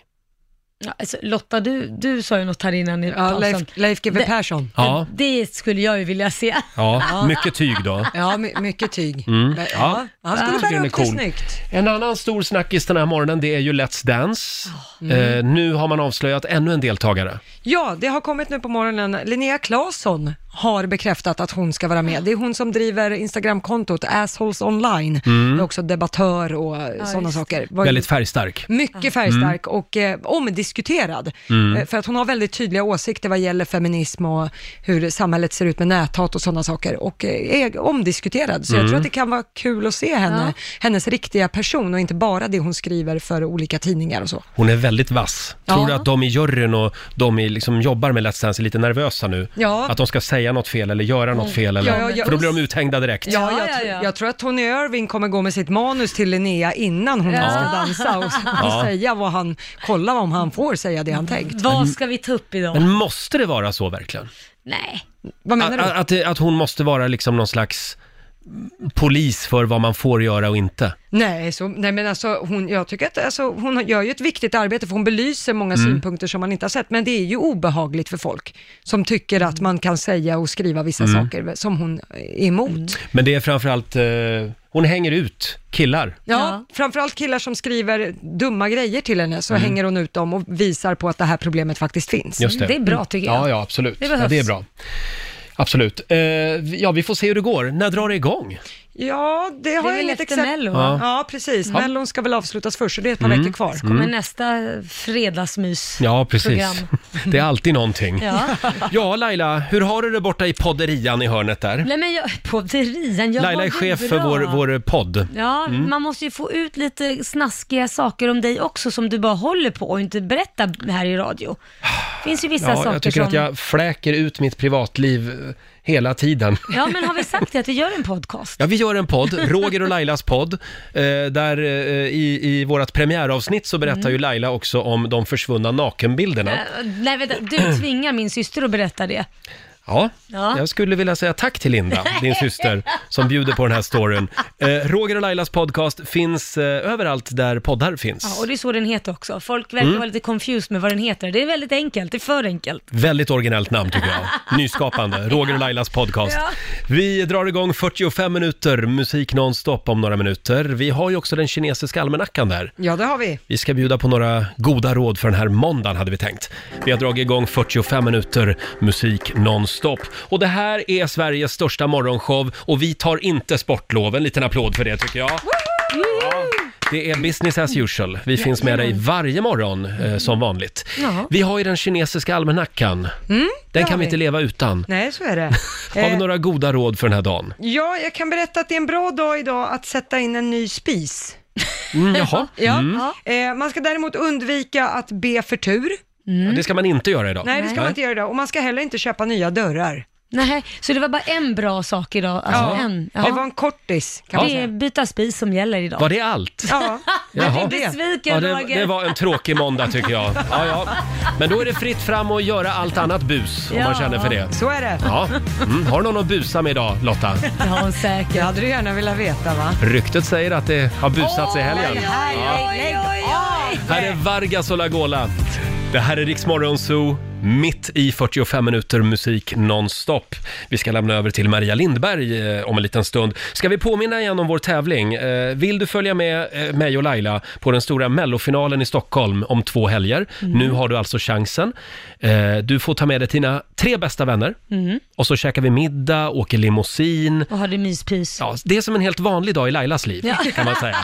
Ja, alltså, Lotta, du, du sa ju något här innan i Ja, pausen. Leif, Leif GW Det- Persson. Ja. Det skulle jag ju vilja se. Ja, mycket tyg då. Ja, my- mycket tyg. Mm. Men- Ja. Han skulle Jag tycker bära den är upp det cool. snyggt. En annan stor snackis den här morgonen, det är ju Let's Dance. Mm. Eh, nu har man avslöjat ännu en deltagare. Ja, det har kommit nu på morgonen. Linnea Claesson har bekräftat att hon ska vara med. Det är hon som driver Instagramkontot Assholes Online. Mm. Hon är också debattör och sådana just saker. Var- Väldigt färgstark. Mycket färgstark och eh, omdiskuterad. Mm. Eh, För att hon har väldigt tydliga åsikter vad gäller feminism och hur samhället ser ut med näthat och sådana saker. Och eh, är omdiskuterad. Så jag Mm. tror att det kan vara kul att se henne, hennes riktiga person och inte bara det hon skriver för olika tidningar och så. Hon är väldigt vass. Tror Ja. du att de i juryn och de i liksom jobbar med Let's Dance är lite nervösa nu? Ja. Att de ska säga något fel eller göra något Mm. fel? Eller? Ja, ja, ja. För då blir de uthängda direkt. Ja, jag, tr- jag tror att Tony Irving kommer gå med sitt manus till Linnea innan hon Ja. ska dansa och, Ja. och säga vad han, kolla om han får säga det han tänkt. Vad ska vi ta upp idag? Men måste det vara så verkligen? Nej. Vad menar du? Att, att, det- att hon måste vara liksom någon slags polis för vad man får göra och inte. Nej, så, nej men alltså, hon, jag tycker att alltså, hon gör ju ett viktigt arbete för hon belyser många Mm. synpunkter som man inte har sett, men det är ju obehagligt för folk som tycker att man kan säga och skriva vissa Mm. Mm. saker som hon är emot. Men det är framförallt eh, hon hänger ut killar. Ja, framförallt killar som skriver dumma grejer till henne så Mm. hänger hon ut dem och visar på att det här problemet faktiskt finns. Just det. Mm. Ja, ja, absolut. Det Det, behövs. ja, det är bra. Absolut. Eh, ja, vi får se hur det går. När drar det igång? Ja, det har Det är jag väl inget efter exakt... Mello, va? Ja. Ja. precis. Ja. Mellon ska väl avslutas först, så det är ett par Mm. veckor kvar. Så kommer Mm. Nästa fredagsmys. Ja, precis. Program. Det är alltid någonting. Ja. ja, Laila, hur har du det borta i podderian i hörnet där? Nej men jag, på rian, jag Laila mådde är chef bra. för vår, vår podd. Ja, Mm. man måste ju få ut lite snaskiga saker om dig också som du bara håller på och inte berättar här i radio. Det finns ju vissa ja, saker jag tycker som... att jag fläker ut mitt privatliv eh, hela tiden. Ja, men har vi sagt det att vi gör en podcast? Ja, vi gör en podd, Roger och Lailas podd, eh, där eh, i, i vårt premiäravsnitt så berättar Mm. ju Laila också om de försvunna nakenbilderna. Äh, Nej, vänta, du tvingar min syster att berätta det. Ja, Ja. jag skulle vilja säga tack till Linda, din syster, som bjuder på den här storyn. Eh, Roger och Lailas podcast finns eh, överallt där poddar finns. Ja, och det är så den heter också. Folk verkar Mm. vara lite confused med vad den heter. Det är väldigt enkelt, det är för enkelt. Väldigt originellt namn tycker jag. Nyskapande. Roger och Lailas podcast. Vi drar igång 45 minuter musik nonstop om några minuter. Vi har ju också den kinesiska almanackan där. Ja, det har vi. Vi ska bjuda på några goda råd för den här måndagen hade vi tänkt. Vi har dragit igång 45 minuter musik nonstop. Och det här är Sveriges största morgonshow och vi tar inte sportlov. En liten applåd för det tycker jag. Det är business as usual. Vi finns med dig varje morgon eh, som vanligt. Ja. Vi har ju den kinesiska almanackan. Mm, det Den har kan vi inte leva utan. Nej, så är det. Har vi Eh, några goda råd för den här dagen? Ja, jag kan berätta att det är en bra dag idag att sätta in en ny spis. Mm, jaha. Ja. Mm. Eh, man ska däremot undvika att be för tur. Ja, Det ska man inte göra idag. Mm. Nej, det ska man inte göra idag. Och man ska heller inte köpa nya dörrar. Nej, så det var bara en bra sak idag? Alltså Ja. en, Det var en kortis, kan man Det är säga. byta spis som gäller idag. Var det allt? Ja, Jaha. besviken Ja, det, Roger. det var en tråkig måndag tycker jag. Ja, ja. Men då är det fritt fram att göra allt annat bus om Ja, man känner för det. så är det. Ja. Mm. Har du någon att busa med idag Lotta? Det har hon säkert. Det hade du gärna velat veta va? Ryktet säger att det har busats i helgen. Lägg av! Här är Vargas och Lagola. Det här är Rix Morgon Zoo, mitt i 45 minuter musik nonstop. Vi ska lämna över till Maria Lindberg eh, om en liten stund. Ska vi påminna igen om vår tävling? Eh, Vill du följa med eh, mig och Laila på den stora mellofinalen i Stockholm om två helger? Mm. Nu har du alltså chansen. Eh, Du får ta med dig dina tre bästa vänner Mm. och så käkar vi middag, åker limousin. Och har det myspys. Ja, det är som en helt vanlig dag i Lailas liv Ja. kan man säga.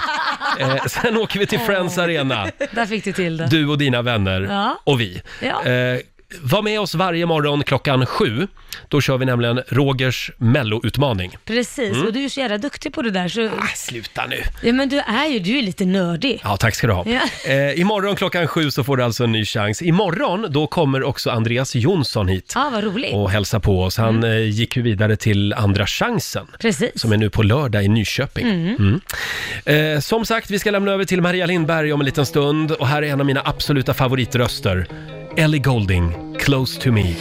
Eh, Sen åker vi till Friends Arena. Där fick du till det. Du och dina vänner Ja. och vi. Ja. Eh, var med oss varje morgon klockan sju. Då kör vi nämligen Rogers melloutmaning. Precis, Mm. och du är så jävla duktig på det där så... Sluta nu! Ja men du är ju, du är lite nördig. Ja, tack ska du ha. Ja. Eh, imorgon klockan sju så får du alltså en ny chans. Imorgon, då kommer också Andreas Jonsson hit Ja, vad roligt. och hälsa på oss. Han Mm. eh, gick ju vidare till Andra chansen. Precis. Som är nu på lördag i Nyköping. Mm. Mm. Eh, som sagt, vi ska lämna över till Maria Lindberg om en liten stund. Och här är en av mina absoluta favoritröster. Ellie Golding, Close to me.